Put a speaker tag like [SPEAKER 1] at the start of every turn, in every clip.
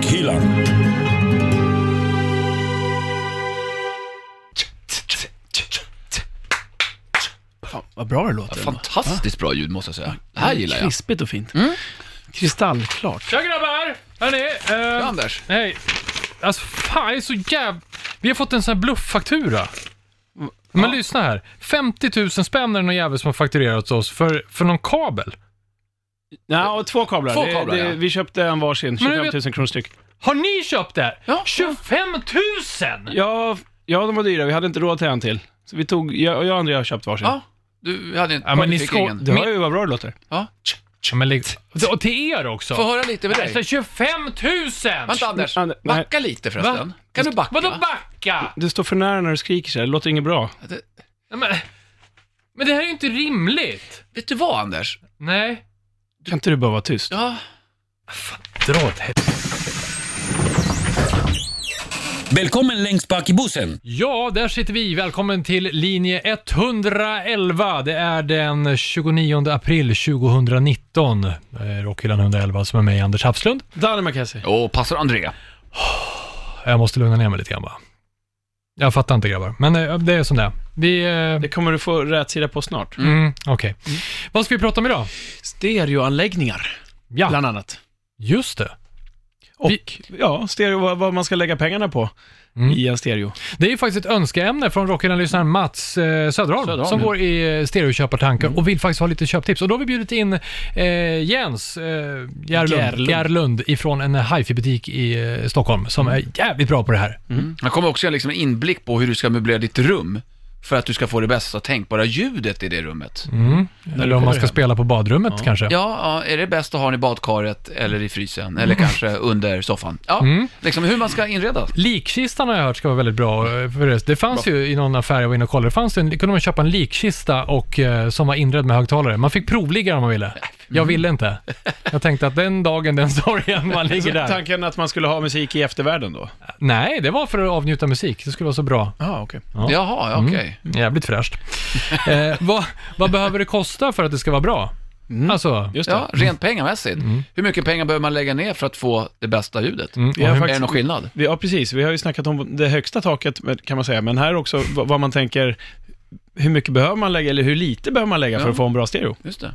[SPEAKER 1] Dylan.
[SPEAKER 2] Fan, vad bra det låter. ändå.
[SPEAKER 3] Fantastiskt bra ljud måste jag säga. Det här gillar jag. Mm.
[SPEAKER 2] Krispigt och fint. Kristallklart.
[SPEAKER 4] Tja grabbar! Hörni, eh,
[SPEAKER 3] Anders.
[SPEAKER 4] hej. Alltså fan, jag är så jäv... Vi har fått en sån här blufffaktura. Men lyssna här. 50 000 spänn är det någon jävel som har fakturerat oss för, för någon kabel.
[SPEAKER 2] Ja, och två kablar.
[SPEAKER 3] Två
[SPEAKER 2] Det-
[SPEAKER 3] kablar,
[SPEAKER 2] det,
[SPEAKER 3] ja.
[SPEAKER 2] Vi köpte en varsin,
[SPEAKER 4] Men du
[SPEAKER 2] 25 000 kronor styck.
[SPEAKER 4] Har ni köpt det här?
[SPEAKER 2] Ja.
[SPEAKER 4] 25 000!
[SPEAKER 2] Ja, ja, de var dyra. Vi hade inte råd till en till. Så vi tog, jag och jag och Andrea har köpt varsin.
[SPEAKER 3] Ja, du hade inte...
[SPEAKER 4] Ja, men
[SPEAKER 3] du
[SPEAKER 4] ni
[SPEAKER 3] fick
[SPEAKER 4] sko-
[SPEAKER 3] ingen.
[SPEAKER 2] Det hör ju vad bra det låter.
[SPEAKER 3] Ja.
[SPEAKER 4] Ja, men lägg- Och till er också.
[SPEAKER 3] Få höra lite med
[SPEAKER 4] Alltså
[SPEAKER 3] dig.
[SPEAKER 4] 25 000!
[SPEAKER 3] Vänta Anders,
[SPEAKER 2] Ander- nej.
[SPEAKER 3] backa lite förresten. Kan du backa?
[SPEAKER 4] Vadå backa?
[SPEAKER 2] Du står för nära när du skriker så här. Det låter inget bra.
[SPEAKER 3] Det-
[SPEAKER 4] Nej, Men, men det här är ju inte rimligt.
[SPEAKER 3] Vet du vad Anders?
[SPEAKER 4] Nej.
[SPEAKER 2] Kan inte du bara vara tyst?
[SPEAKER 3] Ja,
[SPEAKER 4] Dra åt helvete.
[SPEAKER 1] Välkommen längst bak i bussen.
[SPEAKER 4] Ja, där sitter vi. Välkommen till linje 111. Det är den 29 april 2019. Eh, Rockhyllan 111 som är med Anders Hafslund.
[SPEAKER 2] Danne Mackenzie.
[SPEAKER 3] och passar André.
[SPEAKER 4] Jag måste lugna ner mig lite grann bara. Jag fattar inte grabbar, men eh, det är som det är. Vi... eh,
[SPEAKER 2] Det kommer du få rätsida på snart.
[SPEAKER 4] Mm, Okej. Vad ska vi prata om idag?
[SPEAKER 2] Stereoanläggningar,
[SPEAKER 4] Ja,
[SPEAKER 2] bland annat.
[SPEAKER 4] just det.
[SPEAKER 2] Och,
[SPEAKER 4] Vi-
[SPEAKER 2] ja, stereo, vad, vad man ska lägga pengarna på
[SPEAKER 4] Mm.
[SPEAKER 2] i en stereo.
[SPEAKER 4] Det är ju faktiskt ett önskeämne från Rockhyllan-lyssnaren Mats eh, Söderholm,
[SPEAKER 2] Söderholm,
[SPEAKER 4] som
[SPEAKER 2] ja.
[SPEAKER 4] går i eh, stereoköpartankar och vill faktiskt ha lite köptips. Och då har vi bjudit in eh, Jens eh, Järlund,
[SPEAKER 2] Järlund.
[SPEAKER 4] Järlund ifrån en hifi-butik i eh, Stockholm som är jävligt bra på det här.
[SPEAKER 2] Mm.
[SPEAKER 3] Han kommer också ge liksom en inblick på hur du ska möblera ditt rum för att du ska få det bästa tänkbara ljudet i det rummet.
[SPEAKER 4] Mm. Eller om man ska
[SPEAKER 2] hem.
[SPEAKER 4] spela på badrummet kanske.
[SPEAKER 3] Ja, ja, är det bäst att ha den i badkaret eller i frysen
[SPEAKER 2] Mm.
[SPEAKER 3] eller kanske under soffan? Ja, liksom hur man ska inreda.
[SPEAKER 4] Likkistan har jag hört ska vara väldigt bra. eh, För det. det fanns ju i någon affär jag var inne och kollade, det fanns ju en, kunde man köpa en likkista och, eh, som var inredd med högtalare. Man fick provligga om man ville. Jag ville inte. Jag tänkte att den dagen, den sorgen, man ligger där.
[SPEAKER 2] Tanken att man skulle ha musik i eftervärlden då?
[SPEAKER 4] Nej, det var för att avnjuta musik. Det skulle vara så bra.
[SPEAKER 2] Ja, okej.
[SPEAKER 4] Ja.
[SPEAKER 3] Jaha, ja, okej.
[SPEAKER 4] Jävligt fräscht. eh, vad, vad behöver det kosta för att det ska vara bra?
[SPEAKER 3] Mm.
[SPEAKER 4] Alltså,
[SPEAKER 2] Just det.
[SPEAKER 3] Ja, rent pengamässigt. Hur mycket pengar behöver man lägga ner för att få det bästa ljudet?
[SPEAKER 4] mm, och
[SPEAKER 2] Vi har
[SPEAKER 4] hur-
[SPEAKER 3] Är det
[SPEAKER 2] faktiskt,
[SPEAKER 3] någon skillnad?
[SPEAKER 2] vi, ja, precis. Vi har ju snackat om det högsta taket men- kan man säga, men här också v- vad man tänker, hur mycket behöver man lägga eller hur lite behöver man lägga för
[SPEAKER 3] Ja.
[SPEAKER 2] att få en bra stereo?
[SPEAKER 3] Just det.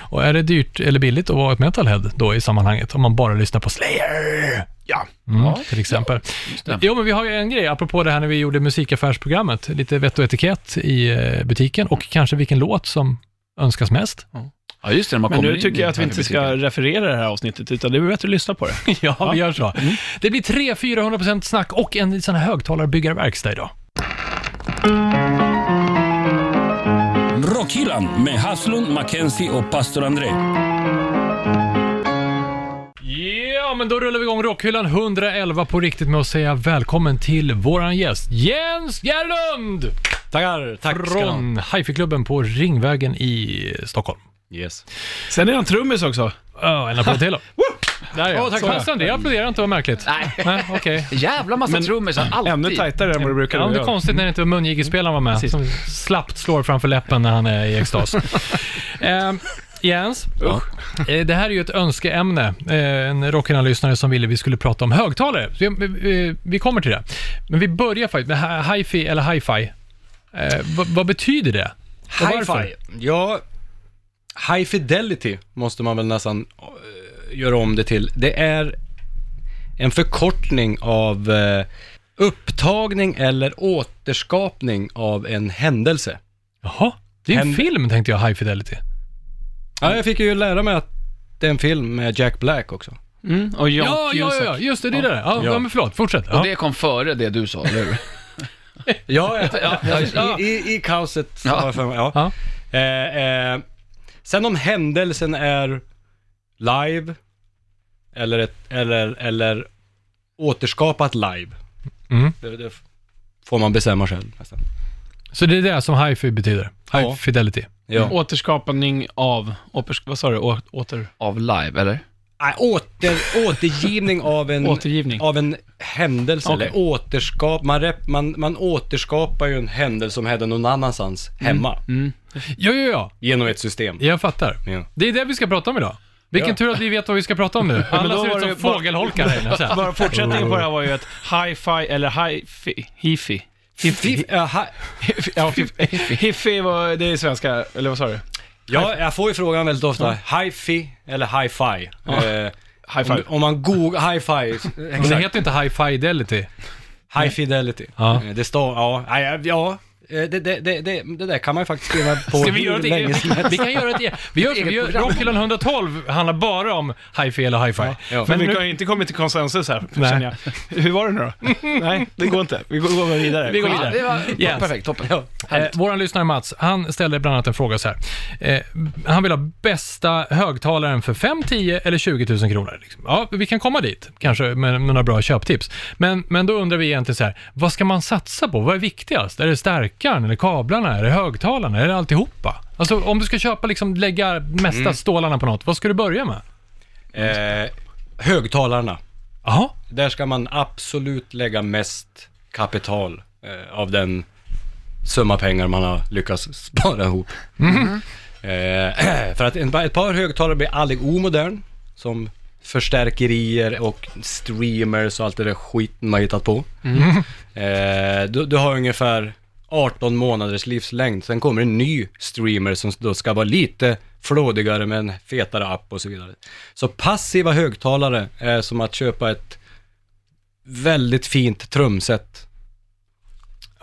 [SPEAKER 4] och är det dyrt eller billigt att vara ett metalhead då i sammanhanget? Om man bara lyssnar på Slayer?
[SPEAKER 2] Ja.
[SPEAKER 4] Mm,
[SPEAKER 3] Ja.
[SPEAKER 4] Till exempel.
[SPEAKER 3] det.
[SPEAKER 4] Jo, men vi har ju en grej, apropå det här när vi gjorde musikaffärsprogrammet. Lite vett och etikett i eh, butiken och kanske vilken låt som önskas mest.
[SPEAKER 3] Ja, just det, när man
[SPEAKER 2] Men
[SPEAKER 3] kommer
[SPEAKER 2] nu
[SPEAKER 3] in
[SPEAKER 2] tycker
[SPEAKER 3] i
[SPEAKER 2] jag att vi
[SPEAKER 3] den här
[SPEAKER 2] inte ska
[SPEAKER 3] butiken.
[SPEAKER 2] referera det här avsnittet, utan det är bättre att lyssna på det.
[SPEAKER 4] ja, vi gör så.
[SPEAKER 3] Mm.
[SPEAKER 4] Det blir 300-400% snack och en sån här högtalarbyggarverkstad idag.
[SPEAKER 1] Rockhyllan med Haslund, Mackenzie och pastor André.
[SPEAKER 4] Ja, men då rullar vi igång Rockhyllan 111 på riktigt med att säga välkommen till våran gäst Jens Gerlund!
[SPEAKER 5] Tackar, tack ska ni ha.
[SPEAKER 4] Från Hifi-klubben på Ringvägen i Stockholm.
[SPEAKER 5] Yes.
[SPEAKER 2] Sen är han trummis också.
[SPEAKER 4] Ja, en applåd till då. Där ja.
[SPEAKER 2] Åh, tack.
[SPEAKER 4] Så, Fast André applåderar inte, vad märkligt.
[SPEAKER 3] Nej.
[SPEAKER 4] Nej, okej.
[SPEAKER 3] Jävla massa trummisar, alltid.
[SPEAKER 2] Ännu tajtare än vad det brukar
[SPEAKER 4] Ja, det är
[SPEAKER 2] vara.
[SPEAKER 4] konstigt när det inte var mungigelspelaren var med, som slappt slår framför läppen när han är i extas. eh, Jens, eh, det här är ju ett önskeämne. Eh, en Rockhyllan-lyssnare som ville vi skulle prata om högtalare. Så eh, vi, vi, vi kommer till det. Men vi börjar faktiskt med hi- hi-fi eller hi-fi. Eh, vad, vad betyder det? Och varför?
[SPEAKER 5] Hi-fi. Ja, high fidelity måste man väl nästan eh, göra om det till. Det är en förkortning av eh, upptagning eller återskapning av en händelse.
[SPEAKER 4] Jaha, det är en
[SPEAKER 5] Händer-
[SPEAKER 4] film tänkte jag, High Fidelity.
[SPEAKER 5] Ja, jag fick ju lära mig att det är en film med Jack Black också.
[SPEAKER 2] Mm, och John
[SPEAKER 4] Ja, ja, ja, ja, just det, det är det. där. Ja,
[SPEAKER 5] Ja.
[SPEAKER 4] ja. men förlåt, fortsätt.
[SPEAKER 3] Och
[SPEAKER 4] Ja.
[SPEAKER 3] det kom före det du sa, eller hur?
[SPEAKER 5] Ja, ja, ja i, i, i kaoset.
[SPEAKER 3] Ja.
[SPEAKER 5] har jag för mig, Ja.
[SPEAKER 4] Ja.
[SPEAKER 5] Eh, eh, sen om händelsen är live eller, ett, eller, eller återskapat live.
[SPEAKER 4] Mm.
[SPEAKER 5] Det, det får man bestämma själv nästan.
[SPEAKER 4] Så det är det som hi-fi betyder, High
[SPEAKER 5] Ja.
[SPEAKER 4] Fidelity.
[SPEAKER 5] Ja.
[SPEAKER 2] Återskapning av, åpers, vad sa du, Å, åter,
[SPEAKER 3] Av live, eller?
[SPEAKER 5] Nej, Äh, åter, återgivning av en,
[SPEAKER 2] återgivning?
[SPEAKER 5] av en händelse.
[SPEAKER 2] Okej.
[SPEAKER 5] Eller återskap, man, rep, man, man återskapar ju en händelse som hände någon annanstans hemma
[SPEAKER 2] Mm.
[SPEAKER 4] Ja, ja, ja,
[SPEAKER 5] genom ett system.
[SPEAKER 4] jag fattar.
[SPEAKER 5] Ja.
[SPEAKER 4] Det är det vi ska prata om idag. Vilken tur att vi vet vad vi ska prata om nu.
[SPEAKER 2] men
[SPEAKER 4] Alla
[SPEAKER 2] då
[SPEAKER 4] ser
[SPEAKER 2] var
[SPEAKER 4] ut som
[SPEAKER 2] det bara-
[SPEAKER 4] fågelholkar här inne sen.
[SPEAKER 2] Bara fortsättningen på det här var ju ett hi-fi, eller hi-fi, hi-fi.
[SPEAKER 5] Fiff- ja, ha-
[SPEAKER 2] Ja, Hiffi var, det är svenska, eller vad sa du?
[SPEAKER 5] Ja, jag får ju frågan väldigt ofta. Hi-fi eller hi-fi? Eh,
[SPEAKER 2] High
[SPEAKER 5] om,
[SPEAKER 2] five.
[SPEAKER 5] om man googlar hi-fi,
[SPEAKER 4] Men det
[SPEAKER 5] exakt.
[SPEAKER 4] heter inte High Fidelity.
[SPEAKER 5] High fidelity.
[SPEAKER 4] Ja.
[SPEAKER 5] Eh, Det står, ja, nej, ja, ja. Eh, Det, det, det, det, det där kan man ju faktiskt skriva på
[SPEAKER 4] Ska vi göra det?
[SPEAKER 5] länge som
[SPEAKER 4] Vi kan göra det. Vi gör, vi gör, Rockhyllan 112 handlar bara om hi-fi eller hi-fi.
[SPEAKER 5] ja.
[SPEAKER 2] Men, vi
[SPEAKER 4] nu-
[SPEAKER 2] har ju inte kommit till konsensus här,
[SPEAKER 4] Nej.
[SPEAKER 2] känner jag. Hur var det nu då? Nej, det går inte. Vi går, går vidare.
[SPEAKER 4] Vi går
[SPEAKER 3] Ja, det
[SPEAKER 4] vidare.
[SPEAKER 3] var
[SPEAKER 4] Yes.
[SPEAKER 3] perfekt, toppen.
[SPEAKER 4] Eh, våran lyssnare Mats, han ställer bland annat en fråga så här. Eh, han vill ha bästa högtalaren för 5, 10 eller 20 000 kronor. Liksom. Ja, vi kan komma dit, kanske med några bra köptips. Men, men då undrar vi egentligen så här, vad ska man satsa på? Vad är viktigast? Är det stärkaren, eller kablarna, är det högtalarna, är det alltihopa? Alltså om du ska köpa, liksom lägga mesta stålarna på något, vad ska du börja med?
[SPEAKER 5] helst. Eh, högtalarna.
[SPEAKER 4] Jaha,
[SPEAKER 5] Där ska man absolut lägga mest kapital eh, av den summa pengar man har lyckats spara ihop. Eh, för att en, ett par högtalare blir aldrig omodern, som förstärkerier och streamers och allt det där skiten man hittat på. Eh, du, du har ungefär 18 månaders livslängd, sen kommer en ny streamer som då ska vara lite flådigare med en fetare app och så vidare. Så passiva högtalare är som att köpa ett väldigt fint trumset.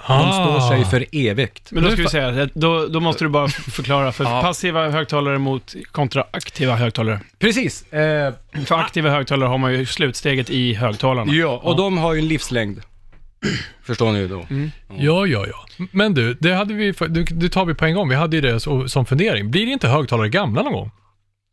[SPEAKER 5] De står sig för evigt.
[SPEAKER 2] Men då ska vi säga, att då, då måste du bara förklara för
[SPEAKER 3] Ja.
[SPEAKER 2] passiva högtalare mot kontra aktiva högtalare.
[SPEAKER 5] Precis. Eh,
[SPEAKER 2] För aktiva högtalare har man ju slutsteget i högtalarna.
[SPEAKER 5] ja, och de har ju en livslängd. Förstår ni ju då.
[SPEAKER 4] Ja, ja, ja. Men du, det hade vi, för- du, du tar vi på en gång. Vi hade ju det så, som fundering. Blir inte högtalare gamla någon gång?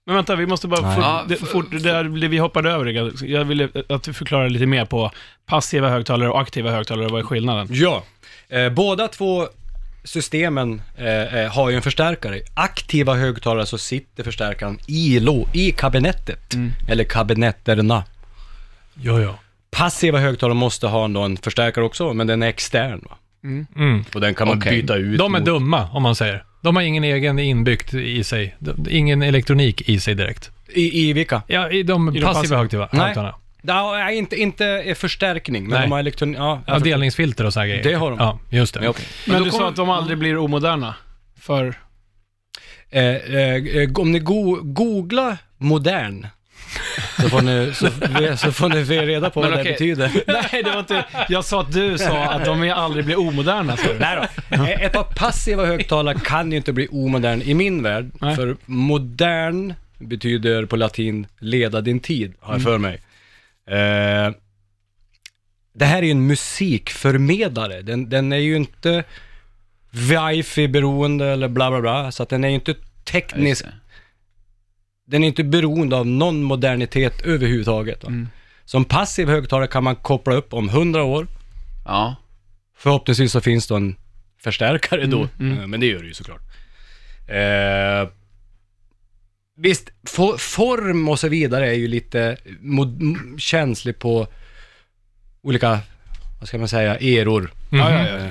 [SPEAKER 2] Men vänta, vi måste bara... Fort,
[SPEAKER 3] Ja,
[SPEAKER 2] det,
[SPEAKER 3] f-
[SPEAKER 2] fort, det där, blev- vi hoppade över det. Jag ville att du förklarar lite mer på passiva högtalare och aktiva högtalare. Vad är skillnaden?
[SPEAKER 5] Ja. Eh, båda två systemen eh, eh, har ju en förstärkare. I Aktiva högtalare så sitter förstärkaren i, lå- i kabinettet. Eller kabinetterna.
[SPEAKER 4] Ja, ja.
[SPEAKER 5] Passiva högtalare måste ha en, då en förstärkare också, men den är extern. Va?
[SPEAKER 4] Mm.
[SPEAKER 5] Och den kan man
[SPEAKER 3] Okej.
[SPEAKER 5] byta ut.
[SPEAKER 4] De är
[SPEAKER 5] mot-
[SPEAKER 4] dumma, om man säger. De har ingen egen inbyggt i sig. De- Ingen elektronik i sig direkt.
[SPEAKER 5] I, I vilka?
[SPEAKER 4] Ja, i
[SPEAKER 2] de
[SPEAKER 4] de passiva
[SPEAKER 2] passiva?
[SPEAKER 4] högtiva-
[SPEAKER 5] Nej. Alltså-
[SPEAKER 4] högtalarna.
[SPEAKER 5] Ja, nej, inte, inte eh, förstärkning, men
[SPEAKER 4] Nej.
[SPEAKER 5] de har elektronik. Ja, jag
[SPEAKER 4] Ja, delningsfilter och sådana grejer.
[SPEAKER 5] Det har de.
[SPEAKER 4] Ja, just det.
[SPEAKER 5] förstår. Ja, okej.
[SPEAKER 2] Men,
[SPEAKER 3] då
[SPEAKER 2] du sa
[SPEAKER 3] kommer-
[SPEAKER 2] att de aldrig blir omoderna. För...
[SPEAKER 5] Eh, eh, eh, om ni go googla modern så får ni, så, så får ni reda på
[SPEAKER 3] Men
[SPEAKER 5] vad
[SPEAKER 3] okej.
[SPEAKER 5] det betyder.
[SPEAKER 2] Nej, det var inte... Jag sa att du sa att de aldrig blir omoderna. sa du.
[SPEAKER 5] Nej då. Eh, Ett par passiva högtalare kan ju inte bli omodern i min värld.
[SPEAKER 2] Nej.
[SPEAKER 5] För modern betyder på latin leda din tid, har
[SPEAKER 2] Mm.
[SPEAKER 5] jag för mig. Eh, det här är ju en musikförmedlare. Den, den är ju inte wifi-beroende eller bla bla bla. Så att den är ju inte tekniskt den är inte beroende av någon modernitet överhuvudtaget. Va? Som passiv högtalare kan man koppla upp om 100 år.
[SPEAKER 3] Ja.
[SPEAKER 5] Förhoppningsvis så finns det en förstärkare då, Eh, men det gör det ju såklart. Eh, visst, for, form och så vidare är ju lite mod, m- känslig på olika, vad ska man säga, eror.
[SPEAKER 4] Mhm.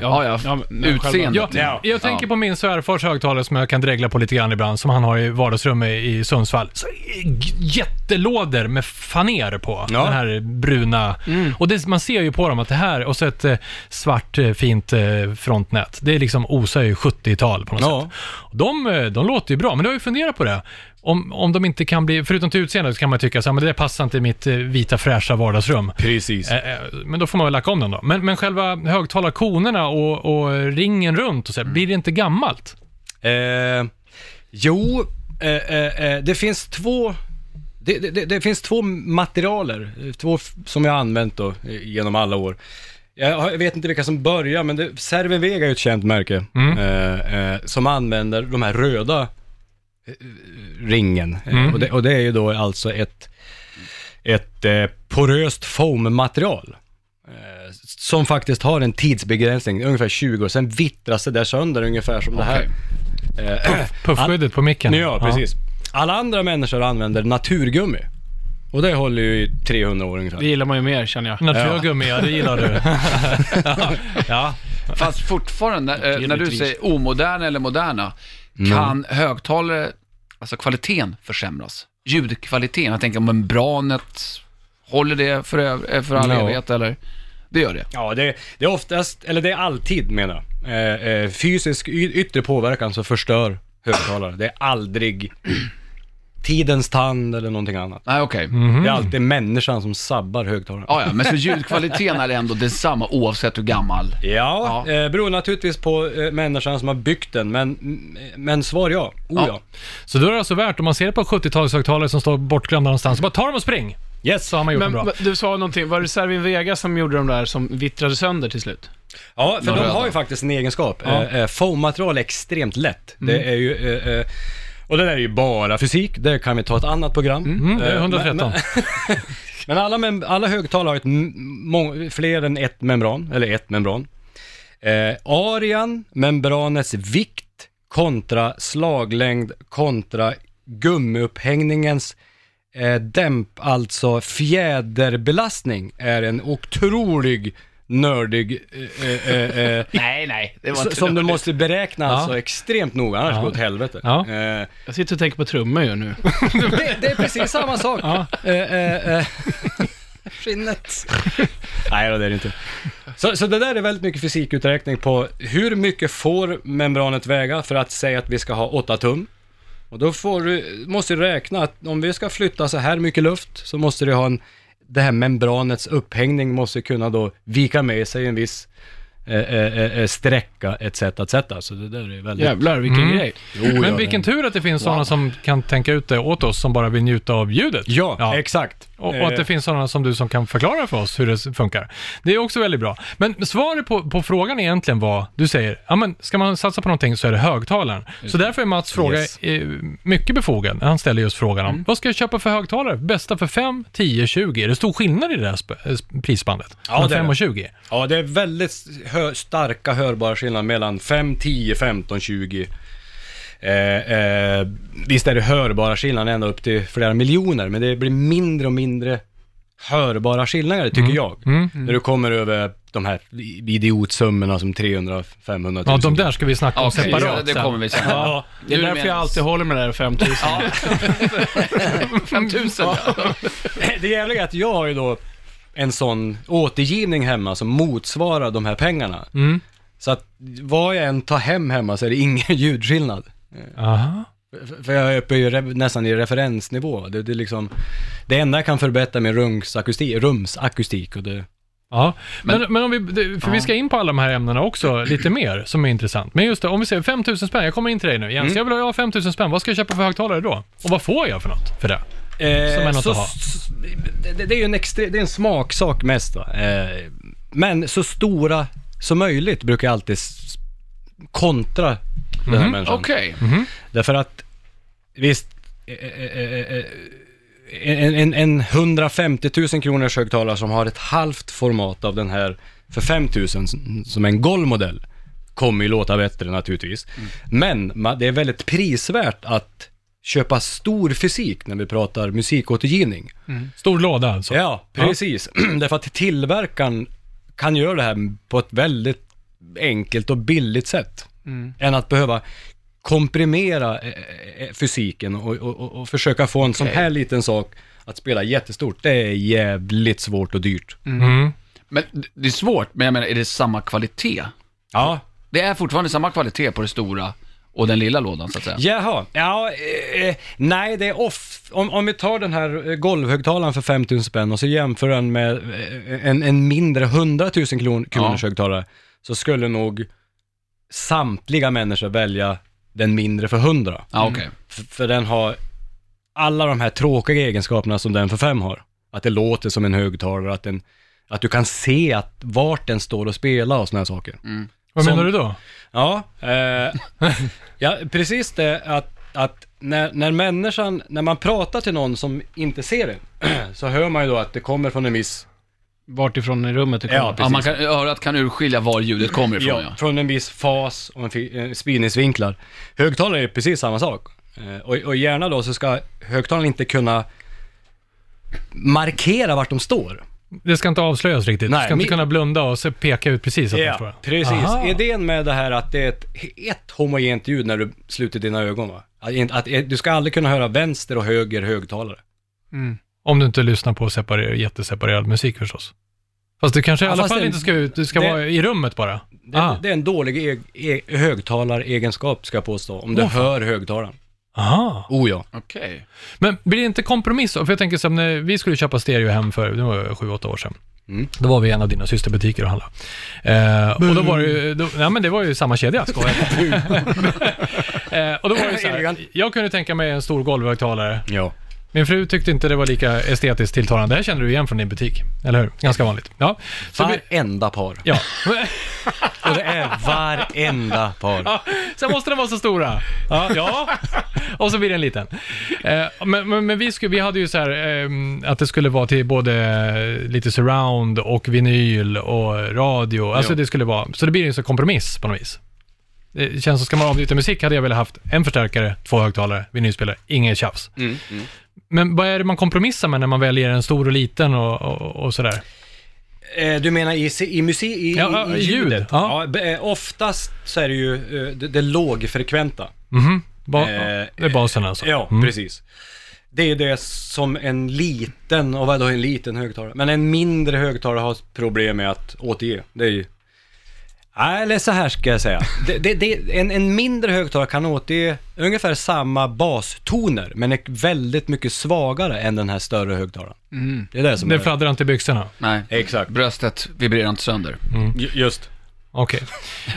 [SPEAKER 3] Ja, ja.
[SPEAKER 2] men-
[SPEAKER 3] Utseendet.
[SPEAKER 4] Ja,
[SPEAKER 3] Ja.
[SPEAKER 4] jag tänker på min svärfars högtalare som jag kan dregla på lite grann ibland, som han har i vardagsrummet i Sundsvall. Så, g- jättelådor med faner på,
[SPEAKER 5] Ja. Mm.
[SPEAKER 4] den här bruna. Och det, man ser ju på dem att det här, och så ett eh, svart eh, fint eh, frontnät. Det är liksom osar ju 70-tal på något
[SPEAKER 5] Ja.
[SPEAKER 4] sätt. Och De, eh, de låter ju bra, men du har ju funderat på det. Om, om de inte kan bli, förutom till utseendet så kan man tycka så här, men det där passar inte i mitt eh, vita fräscha vardagsrum.
[SPEAKER 5] Precis.
[SPEAKER 4] Eh, eh, Men då får man väl lacka om den då. Men, men själva högtalarkonerna och, och ringen runt och så, här,
[SPEAKER 5] Mm.
[SPEAKER 4] blir det inte gammalt?
[SPEAKER 5] Eh, jo, eh, eh, eh, det finns två det, det, det, det finns två materialer, eh, två f- som jag har använt då, eh, genom alla år. Jag, har- jag vet inte vilka som börjar, men det- Serven Vega är ju ett känt märke eh, eh, som använder de här röda eh, ringen. Eh, Och, det, och det är ju då alltså ett, ett eh, poröst foam-material eh, som faktiskt har en tidsbegränsning, ungefär 20 år, sen vittras det där sönder ungefär som det här. Eh,
[SPEAKER 4] Puffskyddet på micken.
[SPEAKER 5] Ja, precis. Alla andra människor använder naturgummi. Och det håller ju i 300 år ungefär.
[SPEAKER 2] Det gillar man ju mer, känner jag.
[SPEAKER 4] Naturgummi, ja. det gillar du. ja. ja.
[SPEAKER 3] Fast fortfarande, eh, när du
[SPEAKER 2] Naturligtvis.
[SPEAKER 3] säger omoderna eller moderna, kan högtalare, alltså kvaliteten försämras ljudkvaliteten? Jag tänker om en branet, håller det för, öv- eh, för all
[SPEAKER 5] Ja.
[SPEAKER 3] evighet eller? Det gör det.
[SPEAKER 5] Ja, det, det är oftast, eller det är alltid menar jag, eh, eh, fysisk y- yttre påverkan som förstör högtalare. Det är aldrig tidens tand eller någonting annat.
[SPEAKER 3] Nej, okej.
[SPEAKER 2] Mm.
[SPEAKER 5] Det är alltid människan som sabbar högtalaren.
[SPEAKER 3] Ja, ja, men så ljudkvaliteten är ändå densamma oavsett hur gammal.
[SPEAKER 5] Ja,
[SPEAKER 3] Ja.
[SPEAKER 5] Eh, beror naturligtvis på eh, människan som har byggt den, men, mm, men svar ja. Oh, ja.
[SPEAKER 3] Ja.
[SPEAKER 4] Så då är det alltså värt, om man ser ett par 70-talshögtalare som står bortglömda någonstans, så bara ta dem och spring!
[SPEAKER 5] Yes.
[SPEAKER 4] Så har man gjort
[SPEAKER 2] Men
[SPEAKER 4] dem bra.
[SPEAKER 2] va- du sa någonting, var det Servin Vega som gjorde de där som vittrade sönder till slut?
[SPEAKER 5] Ja, för
[SPEAKER 3] De
[SPEAKER 5] de,
[SPEAKER 3] röda.
[SPEAKER 5] har ju faktiskt en egenskap. Eh, eh, Foammaterial är extremt lätt.
[SPEAKER 4] Mm.
[SPEAKER 5] Det är ju... eh, eh, och det där är ju bara fysik, det kan vi ta ett annat program.
[SPEAKER 4] Mm, det är
[SPEAKER 5] Eh,
[SPEAKER 4] 113.
[SPEAKER 5] Men, men, men alla, mem- alla högtalare har ett m- mång- fler än ett membran, eller ett membran. Eh, arian, membranets vikt kontra slaglängd kontra gummiupphängningens eh, dämp, alltså fjäderbelastning, är en otrolig nördig... Eh, eh, eh,
[SPEAKER 3] Nej, nej, det var
[SPEAKER 5] s-
[SPEAKER 3] inte
[SPEAKER 5] som du måste beräkna alltså
[SPEAKER 4] Ja.
[SPEAKER 5] extremt noga, annars
[SPEAKER 4] Ja.
[SPEAKER 5] går det åt helvete.
[SPEAKER 4] Ja.
[SPEAKER 5] Eh,
[SPEAKER 2] Jag sitter och tänker på trummor ju nu.
[SPEAKER 5] det, det är precis samma sak.
[SPEAKER 4] Ja.
[SPEAKER 5] Eh, eh, eh. Skinnet. Nej, då, det är det inte. Så, så det där är väldigt mycket fysikuträkning på hur mycket får membranet väga för att säga att vi ska ha 8 tum. Och då får du, måste du räkna att om vi ska flytta så här mycket luft så måste du ha en, det här membranets upphängning måste kunna då vika med sig en viss eh, eh, eh, sträcka etc. etc. Så det där är väldigt...
[SPEAKER 2] Jävlar vilken
[SPEAKER 4] Mm.
[SPEAKER 2] grej.
[SPEAKER 5] Jo, ja,
[SPEAKER 4] Men vilken tur att det finns sådana som kan tänka ut det åt oss, som bara vill njuta av ljudet.
[SPEAKER 5] Ja, exakt.
[SPEAKER 4] Och, och att det finns sådana som du som kan förklara för oss hur det funkar. Det är också väldigt bra. Men svaret på, på frågan egentligen var, du säger, ja men ska man satsa på någonting så är det högtalaren. Så därför är Mats fråga
[SPEAKER 5] Yes.
[SPEAKER 4] eh, mycket befogad. Han ställer just frågan om, vad ska jag köpa för högtalare? Bästa för 5, 10, 20? Är det stor skillnad i det här sp- eh, sp- prisbandet?
[SPEAKER 5] Ja,
[SPEAKER 4] Mellan
[SPEAKER 5] det är
[SPEAKER 4] 5
[SPEAKER 5] det.
[SPEAKER 4] och 20?
[SPEAKER 5] Ja, det är väldigt hö- starka hörbara skillnader mellan 5, 10, 15, 20. Eh, eh, visst är det hörbara skillnader ända upp till flera miljoner, men det blir mindre och mindre hörbara skillnader, tycker jag. När du kommer över de här i- idiotsummorna som 300, 500
[SPEAKER 4] Ja,
[SPEAKER 5] 000.
[SPEAKER 4] de där ska vi snacka om
[SPEAKER 3] Okej,
[SPEAKER 4] separat
[SPEAKER 3] ja, det
[SPEAKER 4] sen.
[SPEAKER 3] kommer vi sen.
[SPEAKER 2] Ja, det är
[SPEAKER 3] Nu
[SPEAKER 2] därför
[SPEAKER 3] menas.
[SPEAKER 2] jag alltid håller med det där 5000.
[SPEAKER 3] Ja. 5000. Ja.
[SPEAKER 5] Det jävliga är att jag har ju då en sån återgivning hemma som motsvarar de här pengarna. Så att vad jag än tar hem hemma så är det ingen ljudskillnad.
[SPEAKER 4] Aha.
[SPEAKER 5] För- För jag är uppe i, re- nästan i referensnivå. Det, det, är liksom, det enda jag kan förbättra med rumsakustik, rumsakustik och det...
[SPEAKER 4] Ja, men, men, om vi, det- för vi ska in på alla de här ämnena också lite mer som är intressant. Men just det, om vi säger 5000 spänn, jag kommer in till dig nu Jens,
[SPEAKER 5] Mm.
[SPEAKER 4] jag vill ha jag har 5000 spänn, vad ska jag köpa för högtalare då? Och vad får jag för något för det? Som är något att ha.
[SPEAKER 5] Eh, s- det, det är ju en, extre, det är en smaksak mest va. Eh, men så stora som möjligt brukar jag alltid s- kontra den
[SPEAKER 4] Mm.
[SPEAKER 5] här människan.
[SPEAKER 3] Okej.
[SPEAKER 5] Därför att, visst, eh, eh, eh, eh, en, en, en 150 000 kronors högtalare som har ett halvt format av den här för 5 000 som- som en golvmodell kommer ju låta bättre naturligtvis. Men ma- det är väldigt prisvärt att köpa stor fysik när vi pratar musikåtergivning.
[SPEAKER 4] Stor låda alltså.
[SPEAKER 5] Ja, precis. Därför att tillverkaren kan göra det här på ett väldigt enkelt och billigt sätt. Än att behöva komprimera eh, eh, fysiken och, och, och- och försöka få en sån här liten sak att spela jättestort. Det är jävligt svårt och dyrt.
[SPEAKER 4] Mm.
[SPEAKER 3] Men det är svårt, men jag menar, är det samma kvalitet?
[SPEAKER 5] Ja.
[SPEAKER 3] Det är fortfarande samma kvalitet på det stora och den lilla lådan, så att säga.
[SPEAKER 5] Jaha. Ja, eh, eh, nej det är off. Om, om vi tar den här eh, golvhögtalaren för 5000 spänn och så jämför den med eh, en, en mindre 100 000 kron, kronors högtalare, så skulle nog samtliga människor välja den mindre för 100.
[SPEAKER 3] Ja, Ah, okej.
[SPEAKER 5] F- för den har alla de här tråkiga egenskaperna som den för 5 har. Att det låter som en högtalare, att, den, att du kan se att vart den står och spelar och såna här saker.
[SPEAKER 4] Vad
[SPEAKER 5] Som-
[SPEAKER 4] menar du då?
[SPEAKER 5] Ja, eh, ja precis det att, att när, när människan, när man pratar till någon som inte ser en, så hör man ju då att det kommer från en viss,
[SPEAKER 2] Vartifrån i rummet det kommer.
[SPEAKER 5] Ja,
[SPEAKER 3] Ja, man kan, örat kan urskilja var ljudet kommer ifrån, ja.
[SPEAKER 5] ja, från en viss fas och en fi- eh, spridningsvinklar. Högtalare är precis samma sak. Eh, och, och gärna då så ska högtalaren inte kunna markera vart de står.
[SPEAKER 4] Det ska inte avslöjas riktigt. du
[SPEAKER 5] Nej,
[SPEAKER 4] ska inte
[SPEAKER 5] min-
[SPEAKER 4] kunna blunda och se, peka ut precis att man får det.
[SPEAKER 5] precis.
[SPEAKER 4] Aha.
[SPEAKER 5] Idén med det här att det är ett, ett homogent ljud när du sluter dina ögon va? Att, inte- att, du ska aldrig kunna höra vänster och höger högtalare.
[SPEAKER 4] Om du inte lyssnar på separer- jätteseparerad musik förstås. Fast du kanske i
[SPEAKER 5] Ja,
[SPEAKER 4] alla
[SPEAKER 5] fast
[SPEAKER 4] fall
[SPEAKER 5] det-
[SPEAKER 4] inte ska ut, du ska
[SPEAKER 5] det-
[SPEAKER 4] vara i rummet bara.
[SPEAKER 5] Det,
[SPEAKER 4] ah.
[SPEAKER 5] det är en dålig e- e- högtalaregenskap, ska jag påstå, om du
[SPEAKER 4] Åh, fan.
[SPEAKER 5] hör högtalaren.
[SPEAKER 4] Aha.
[SPEAKER 5] Oh ja.
[SPEAKER 3] Okej.
[SPEAKER 4] Men blir det inte kompromiss då? För jag tänker som när vi skulle köpa stereo hem för, det var 7-8 år sedan.
[SPEAKER 5] Mm.
[SPEAKER 4] Då var vi i en av dina systerbutiker och handlade. Eh, och då var det ju, då, nej men det var ju samma kedja, skojar eh, Och då var det så här,
[SPEAKER 5] Elegant.
[SPEAKER 4] jag kunde tänka mig en stor golvhögtalare.
[SPEAKER 5] Ja.
[SPEAKER 4] Min fru tyckte inte det var lika estetiskt tilltalande. Det här känner du igen från din butik, eller hur? Ganska vanligt. Ja. Så vi,
[SPEAKER 5] Varenda par.
[SPEAKER 4] ja.
[SPEAKER 5] Och det är varenda par.
[SPEAKER 4] Ja, Sen måste de vara så stora. Ja. Och så blir den liten. Eh, Men, men, men vi, skulle, vi hade ju så här ehm, att det skulle vara till både eh, lite surround och vinyl och radio. Alltså det skulle vara, så det blir ju en sån kompromiss på något vis. Det känns som, ska man avbryta musik hade jag velat haft en förstärkare, två högtalare, vinylspelare, inget tjafs.
[SPEAKER 5] Mm,
[SPEAKER 4] Men vad är det man kompromissar med när man väljer en stor och liten och, och, och sådär?
[SPEAKER 5] Eh, Du menar i, se- i musik, i,
[SPEAKER 4] Ja,
[SPEAKER 5] i, i
[SPEAKER 4] ljud.
[SPEAKER 5] ljudet?
[SPEAKER 4] Ja.
[SPEAKER 5] be- eh, oftast så är det ju eh, det, det lågfrekventa.
[SPEAKER 4] Mhm. Ba-
[SPEAKER 5] Eh,
[SPEAKER 4] det är basen alltså?
[SPEAKER 5] Ja,
[SPEAKER 4] Mm.
[SPEAKER 5] precis. Det är ju det som en liten, och vadå en liten högtalare? Men en mindre högtalare har problem med att återge. Det är ju... Nej, Eller så här ska jag säga. Det, det, det, en, en mindre högtalare kan återge ungefär samma bastoner, men är väldigt mycket svagare än den här större högtalaren. Det är Mm. det som
[SPEAKER 4] Det
[SPEAKER 5] är...
[SPEAKER 4] fladdrar inte i byxorna?
[SPEAKER 3] Nej.
[SPEAKER 5] Exakt.
[SPEAKER 3] Bröstet vibrerar inte sönder.
[SPEAKER 4] Mm.
[SPEAKER 5] Ju- Just.
[SPEAKER 4] Okej.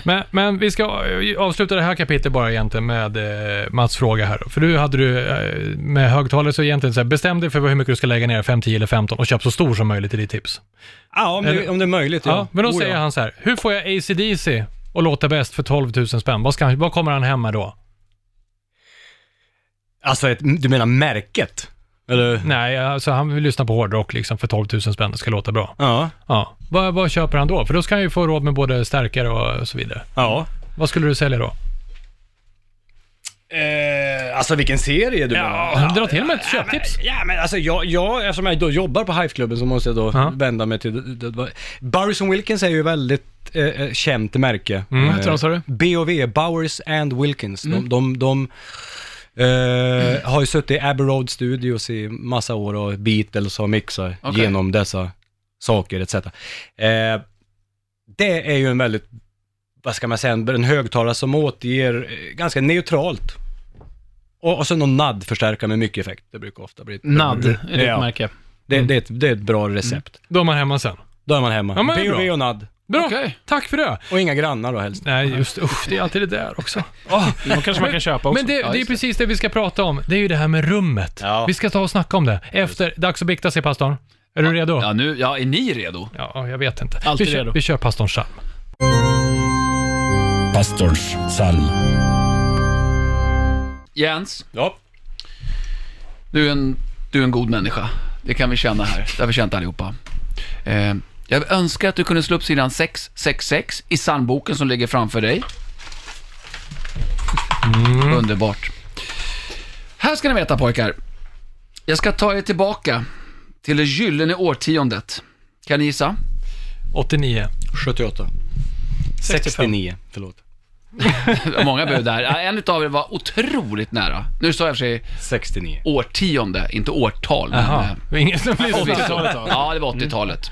[SPEAKER 4] Men, men vi ska eh, avsluta det här kapitlet bara egentligen med eh, Mats fråga här. då. För du hade du eh, med högtalare så egentligen så här, bestäm dig för hur mycket du ska lägga ner, 5, 10 eller 15 och köp så stor som möjligt i ditt tips.
[SPEAKER 5] Ja, om det, om det är möjligt.
[SPEAKER 4] Ja,
[SPEAKER 5] Ja,
[SPEAKER 4] men då
[SPEAKER 5] Oh, ja.
[SPEAKER 4] säger han så här, hur får jag ACDC och låta bäst för 12 000 spänn? Vad, ska, han- vad kommer han hem med då?
[SPEAKER 5] Alltså, ett, du menar märket? Eller?
[SPEAKER 4] Nej, alltså han vill lyssna på hårdrock liksom för 12 000 spänn, det ska låta bra.
[SPEAKER 5] Ja.
[SPEAKER 4] Ja. Vad, vad köper han då? För då ska han ju få råd med både stärkare och så vidare.
[SPEAKER 5] Ja.
[SPEAKER 4] Vad skulle du sälja då?
[SPEAKER 5] Eh, alltså vilken serie du menar?
[SPEAKER 4] Ja, dra till med ett köptips.
[SPEAKER 5] Ja men alltså jag, jag eftersom jag då jobbar på Hiveklubben så måste jag då
[SPEAKER 4] Ja.
[SPEAKER 5] vända mig till... det- det- Burris and Wilkins är ju väldigt eh, eh, känt märke.
[SPEAKER 4] Mm,
[SPEAKER 2] Vad heter de, sa du?
[SPEAKER 5] BOV, Bowers and Wilkins.
[SPEAKER 4] Mm.
[SPEAKER 5] De, de, de eh, har ju suttit i Abbey Road Studios i massa år och Beatles har mixat
[SPEAKER 3] Okej.
[SPEAKER 5] genom dessa saker etc. Eh, det är ju en väldigt, vad ska man säga, en, en högtalare som återger eh, ganska neutralt. Och, och så någon nadd-förstärkare med mycket effekt. Det brukar ofta bli...
[SPEAKER 6] Nadd är ditt
[SPEAKER 5] Ja.
[SPEAKER 6] märke.
[SPEAKER 5] Det, det, är ett, det är ett bra recept.
[SPEAKER 4] Då är man hemma sen.
[SPEAKER 5] Då är man hemma.
[SPEAKER 4] Mm. Ja, men det är
[SPEAKER 5] BOV
[SPEAKER 4] bra.
[SPEAKER 5] och nadd.
[SPEAKER 4] Bra,
[SPEAKER 3] Okej.
[SPEAKER 4] tack för det.
[SPEAKER 5] Och inga grannar då helst.
[SPEAKER 4] Nej, just usch, det är alltid det där också.
[SPEAKER 2] De kanske man kan köpa också.
[SPEAKER 4] Men det,
[SPEAKER 3] Ja,
[SPEAKER 4] det är
[SPEAKER 3] just
[SPEAKER 4] precis det vi ska prata om. Det är ju det här med rummet.
[SPEAKER 5] Ja.
[SPEAKER 4] Vi ska ta och snacka om det. Efter, dags att bikta sig pastorn. Är du redo?
[SPEAKER 3] Ja, nu, ja, är ni redo?
[SPEAKER 4] Ja, jag vet inte.
[SPEAKER 6] Alltid
[SPEAKER 4] vi, kör,
[SPEAKER 6] redo.
[SPEAKER 4] vi kör pastorns psalm.
[SPEAKER 1] Pastors psalm.
[SPEAKER 3] Jens,
[SPEAKER 5] Ja.
[SPEAKER 3] du är, en, du är en god människa. Det kan vi känna här. Det har vi känt allihopa. Eh, jag önskar att du kunde slå upp sidan 666 i psalmboken som ligger framför dig. Underbart. Här ska ni veta pojkar. Jag ska ta er tillbaka till det gyllene årtiondet. Kan ni gissa?
[SPEAKER 4] 89.
[SPEAKER 5] 78. 69, förlåt.
[SPEAKER 3] Det var Många bud där. Ja, En utav er var otroligt nära. Nu sa jag i och för sig
[SPEAKER 5] 69.
[SPEAKER 3] årtionde, inte årtal. men, eh,
[SPEAKER 4] Jaha, det var ingen som lyssnade.
[SPEAKER 2] 80-talet, va?
[SPEAKER 3] Ja, det Mm. var 80-talet.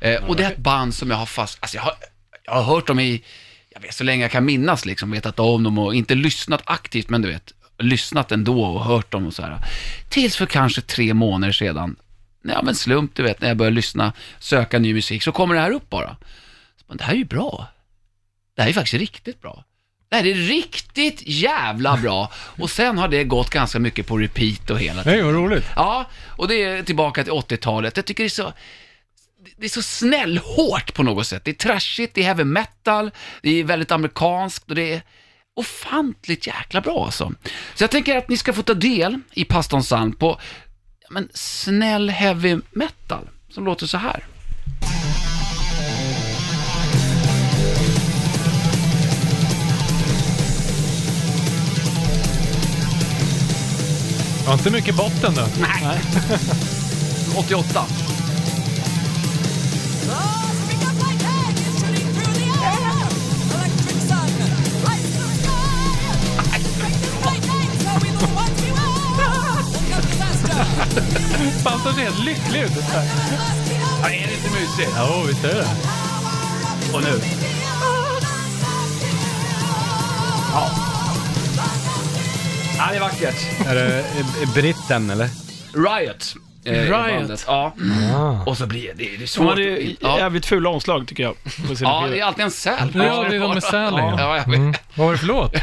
[SPEAKER 3] Eh, och det är ett band som jag har fast... Alltså jag har, jag har hört dem i... Jag vet så länge jag kan minnas liksom, vetat om dem och inte lyssnat aktivt, men du vet, lyssnat ändå och hört dem och så här. Tills för kanske tre månader sedan, ja men slump du vet, när jag började lyssna, söka ny musik, så kommer det här upp bara. Så, bara, det här är ju bra. Det här är faktiskt riktigt bra. Det här är riktigt jävla bra. Och sen har det gått ganska mycket på repeat och hela
[SPEAKER 4] Nej, vad roligt.
[SPEAKER 3] Ja, och det är tillbaka till 80-talet. Jag tycker det är så... Det är så snällhårt på något sätt. Det är trashigt, det är heavy metal, det är väldigt amerikanskt och det är ofantligt jäkla bra alltså. Så jag tänker att ni ska få ta del i Pastorns psalm på ja, men, snäll heavy metal som låter så här.
[SPEAKER 4] Det var inte mycket botten då.
[SPEAKER 3] 88.
[SPEAKER 4] ett lycklig ut.
[SPEAKER 3] Ja, är det inte mysigt?
[SPEAKER 4] Jo, visst är det
[SPEAKER 3] Och nu? Ja, det är vackert.
[SPEAKER 5] Är det eh, eh, britten eller?
[SPEAKER 3] Riot. eh, är
[SPEAKER 2] Riot.
[SPEAKER 3] bandet. Ja. Och så blir det, det är
[SPEAKER 2] De
[SPEAKER 3] svårt.
[SPEAKER 2] hade
[SPEAKER 3] att-
[SPEAKER 2] ju
[SPEAKER 3] ja.
[SPEAKER 2] jävligt fula omslag tycker jag. På sina
[SPEAKER 3] ja,
[SPEAKER 2] skivor.
[SPEAKER 3] det är alltid en säl.
[SPEAKER 4] Ja, det är de med sälen, ja.
[SPEAKER 3] ja, jag vet.
[SPEAKER 4] Mm. Vad var det för låt?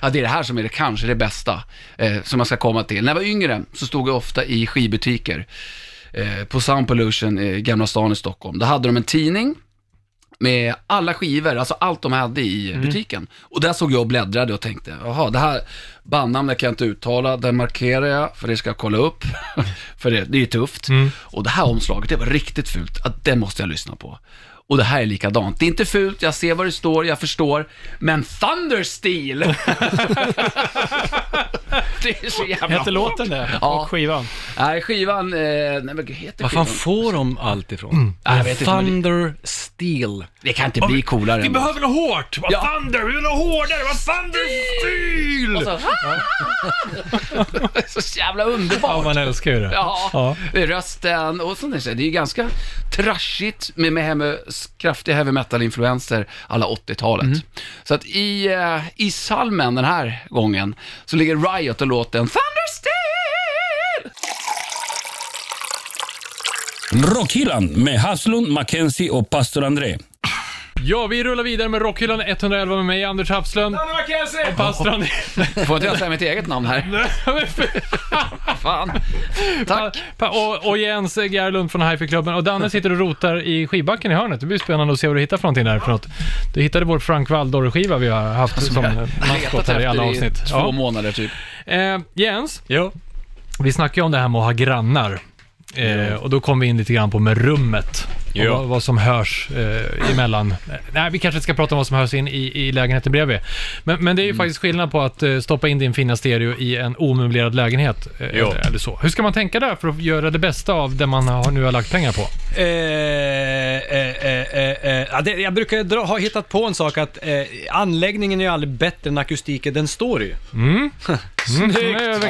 [SPEAKER 3] Ja, det är det här som är det kanske det bästa eh, som man ska komma till. När jag var yngre så stod jag ofta i skibutiker eh, på Sound Pollution i Gamla stan i Stockholm. Där hade de en tidning med alla skivor, alltså allt de hade i
[SPEAKER 5] Mm.
[SPEAKER 3] butiken. Och där såg jag och bläddrade och tänkte, jaha, det här bandnamnet kan jag inte uttala, den markerar jag för det ska jag kolla upp, för det, det är ju tufft.
[SPEAKER 5] Mm.
[SPEAKER 3] Och det här omslaget, det var riktigt fult, att det måste jag lyssna på. Och det här är likadant. Det är inte fult, jag ser vad det står, jag förstår, men Thundersteel! det är så jävla...
[SPEAKER 2] Hette låten det?
[SPEAKER 3] Ja.
[SPEAKER 2] Och skivan?
[SPEAKER 3] Nej, skivan, eh, nej men gud, heter
[SPEAKER 5] Vad fan
[SPEAKER 3] skivan?
[SPEAKER 5] får de allt ifrån?
[SPEAKER 4] Mm.
[SPEAKER 3] Nej, jag vet inte, men det-
[SPEAKER 5] Thunder Steel.
[SPEAKER 3] Det kan inte bli coolare. än-
[SPEAKER 4] något hårt! Vad
[SPEAKER 3] Ja.
[SPEAKER 4] Thunder! Vi vill ha hårdare! Vad Thunder
[SPEAKER 3] Och så, det är så jävla
[SPEAKER 4] Ja,
[SPEAKER 3] underbart.
[SPEAKER 4] man älskar ju det.
[SPEAKER 3] Ja,
[SPEAKER 4] Ja.
[SPEAKER 3] rösten och sånt där. Det är ju ganska trashigt med, med heavy, kraftiga heavy metal-influenser alla 80-talet.
[SPEAKER 4] Mm.
[SPEAKER 3] Så att i, eh, i salmen den här gången så ligger Riot och låten Thundersteel!
[SPEAKER 1] Rockhyllan med Haslund, Mackenzie och pastor André.
[SPEAKER 4] Ja, vi rullar vidare med Rockhyllan 111 med mig, Anders Hafslund. Och pastor André.
[SPEAKER 3] Får inte jag säga mitt eget namn här? Fan. Tack.
[SPEAKER 4] Pa- Och, och Jens Gerlund från Hifi-klubben. Och
[SPEAKER 3] Mm.
[SPEAKER 4] Danne sitter och rotar i skivbacken i hörnet. Det blir spännande att se vad du hittar för någonting där. För något. Du hittade vår Frank Valdor-skiva vi har haft som maskot
[SPEAKER 3] Alltså, Letat
[SPEAKER 4] här i alla
[SPEAKER 3] efter i
[SPEAKER 4] avsnitt.
[SPEAKER 3] två
[SPEAKER 4] Ja.
[SPEAKER 3] månader typ.
[SPEAKER 4] Eh, Jens,
[SPEAKER 5] Ja.
[SPEAKER 4] vi snackade ju om det här med att ha grannar. Eh, och då kom vi in lite grann på med rummet. Och
[SPEAKER 5] Ja.
[SPEAKER 4] vad, vad som hörs eh, emellan. Eh, Nej, vi kanske inte ska prata om vad som hörs in i, i lägenheten bredvid. Men, men det är ju faktiskt skillnad på att eh, stoppa in din fina stereo i en omöblerad lägenhet. Eh,
[SPEAKER 5] Ja.
[SPEAKER 4] eller, eller så. Hur ska man tänka där för att göra det bästa av det man har, nu har lagt pengar på?
[SPEAKER 5] Eh, eh, eh, eh, eh. Ja, det, jag brukar dra, ha hittat på en sak att eh, anläggningen är ju aldrig bättre än akustiken den står i.
[SPEAKER 4] Mm, Snyggt!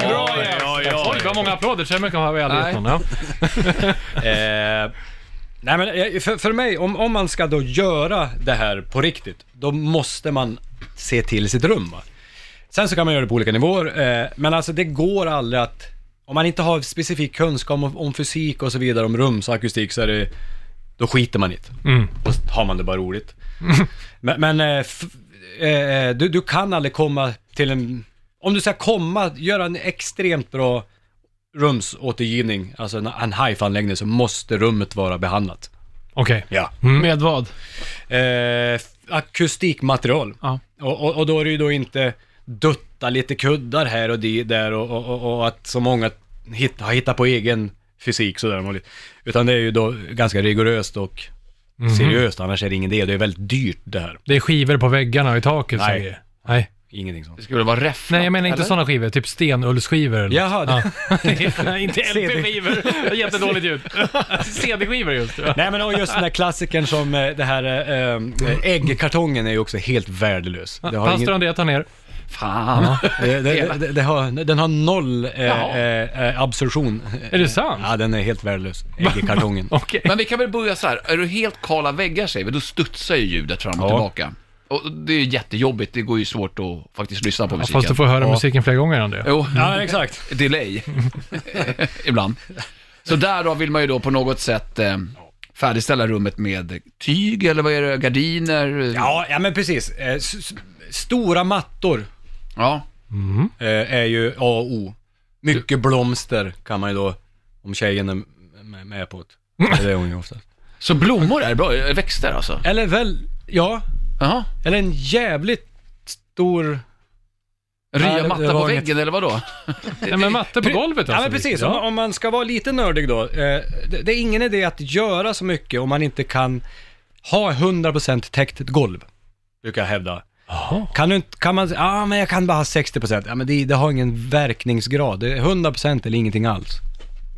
[SPEAKER 4] Bra
[SPEAKER 5] Oj, oj, oj.
[SPEAKER 4] Oj, vad många applåder. Så här mycket har vi aldrig
[SPEAKER 3] Nej.
[SPEAKER 4] gett någon. Ja.
[SPEAKER 5] Eh, nej men eh, för, för mig, om, om man ska då göra det här på riktigt, då måste man se till sitt rum. Va? Sen så kan man göra det på olika nivåer, eh, men alltså det går aldrig att, om man inte har specifik kunskap om, om fysik och så vidare, om rumsakustik så är det, då skiter man i det. Och så har man det bara roligt. men men eh, f, eh, du, du kan aldrig komma till en, om du ska komma, göra en extremt bra rumsåtergivning, alltså en, en hifi-anläggning, så måste rummet vara behandlat.
[SPEAKER 4] Okej. Mm.
[SPEAKER 5] Ja.
[SPEAKER 2] Med vad?
[SPEAKER 5] Eh, akustikmaterial.
[SPEAKER 2] Ja.
[SPEAKER 5] Och, och, och då är det ju då inte dutta lite kuddar här och di- där och, och, och, och att så många hit, har hittat på egen fysik sådär. om möjligt. Utan det är ju då ganska rigoröst och seriöst, annars är det ingen idé. Det är väldigt dyrt det här.
[SPEAKER 4] Det är skivor på väggarna och i taket.
[SPEAKER 5] Nej.
[SPEAKER 4] säger jag. Nej.
[SPEAKER 5] Ingenting sånt.
[SPEAKER 3] Det skulle vara ref.
[SPEAKER 4] Nej, jag menar inte sådana skivor. Typ stenullsskivor. eller
[SPEAKER 5] Jaha, det-
[SPEAKER 4] Ja. inte LP-skivor. Jättedåligt ljud. CD-skivor just. Ja.
[SPEAKER 5] Nej men och just den där klassikern som eh, det här eh, eh, äggkartongen är ju också helt värdelös. Det har
[SPEAKER 4] Pastor André tar ner.
[SPEAKER 3] Fan.
[SPEAKER 5] Det, det, det, det har, den har noll eh,
[SPEAKER 3] Jaha.
[SPEAKER 5] eh, eh, absorption.
[SPEAKER 4] Är det sant?
[SPEAKER 5] Ja, den är helt värdelös. Äggkartongen.
[SPEAKER 4] Okej.
[SPEAKER 3] Men vi kan väl börja så här, är du helt kala väggar säger vi, då studsar ju ljudet fram och
[SPEAKER 5] Ja.
[SPEAKER 3] tillbaka. Och det är ju jättejobbigt, det går ju svårt att faktiskt lyssna på
[SPEAKER 4] Ja,
[SPEAKER 3] musiken.
[SPEAKER 4] Fast du får höra musiken flera gånger, André.
[SPEAKER 3] Jo,
[SPEAKER 5] Ja, exakt.
[SPEAKER 3] delay. Ibland. Så där då vill man ju då på något sätt eh, färdigställa rummet med tyg eller vad är det, gardiner?
[SPEAKER 5] Ja, ja men precis. Eh, s- s- stora mattor
[SPEAKER 3] Ja.
[SPEAKER 5] eh, är ju A och O. Mycket blomster kan man ju då, om tjejen är med- med på det. Det är hon ju ofta.
[SPEAKER 3] Så blommor är bra, växter alltså?
[SPEAKER 5] Eller väl, ja,
[SPEAKER 3] Jaha.
[SPEAKER 5] eller en jävligt stor... Nej,
[SPEAKER 3] Rya
[SPEAKER 5] det
[SPEAKER 3] matta på
[SPEAKER 5] var
[SPEAKER 3] väggen
[SPEAKER 5] inget.
[SPEAKER 3] eller vadå?
[SPEAKER 4] Nej, men matte på golvet
[SPEAKER 5] Ja
[SPEAKER 4] alltså.
[SPEAKER 5] men precis, om,
[SPEAKER 4] Ja.
[SPEAKER 5] om man ska vara lite nördig då. Eh, det, det är ingen idé att göra så mycket om man inte kan ha 100% täckt ett golv. Brukar jag hävda.
[SPEAKER 4] Jaha.
[SPEAKER 5] Kan, du, inte- kan man säga, ah, men jag kan bara ha 60%. Ja men det, det har ingen verkningsgrad. Det är 100% eller ingenting alls.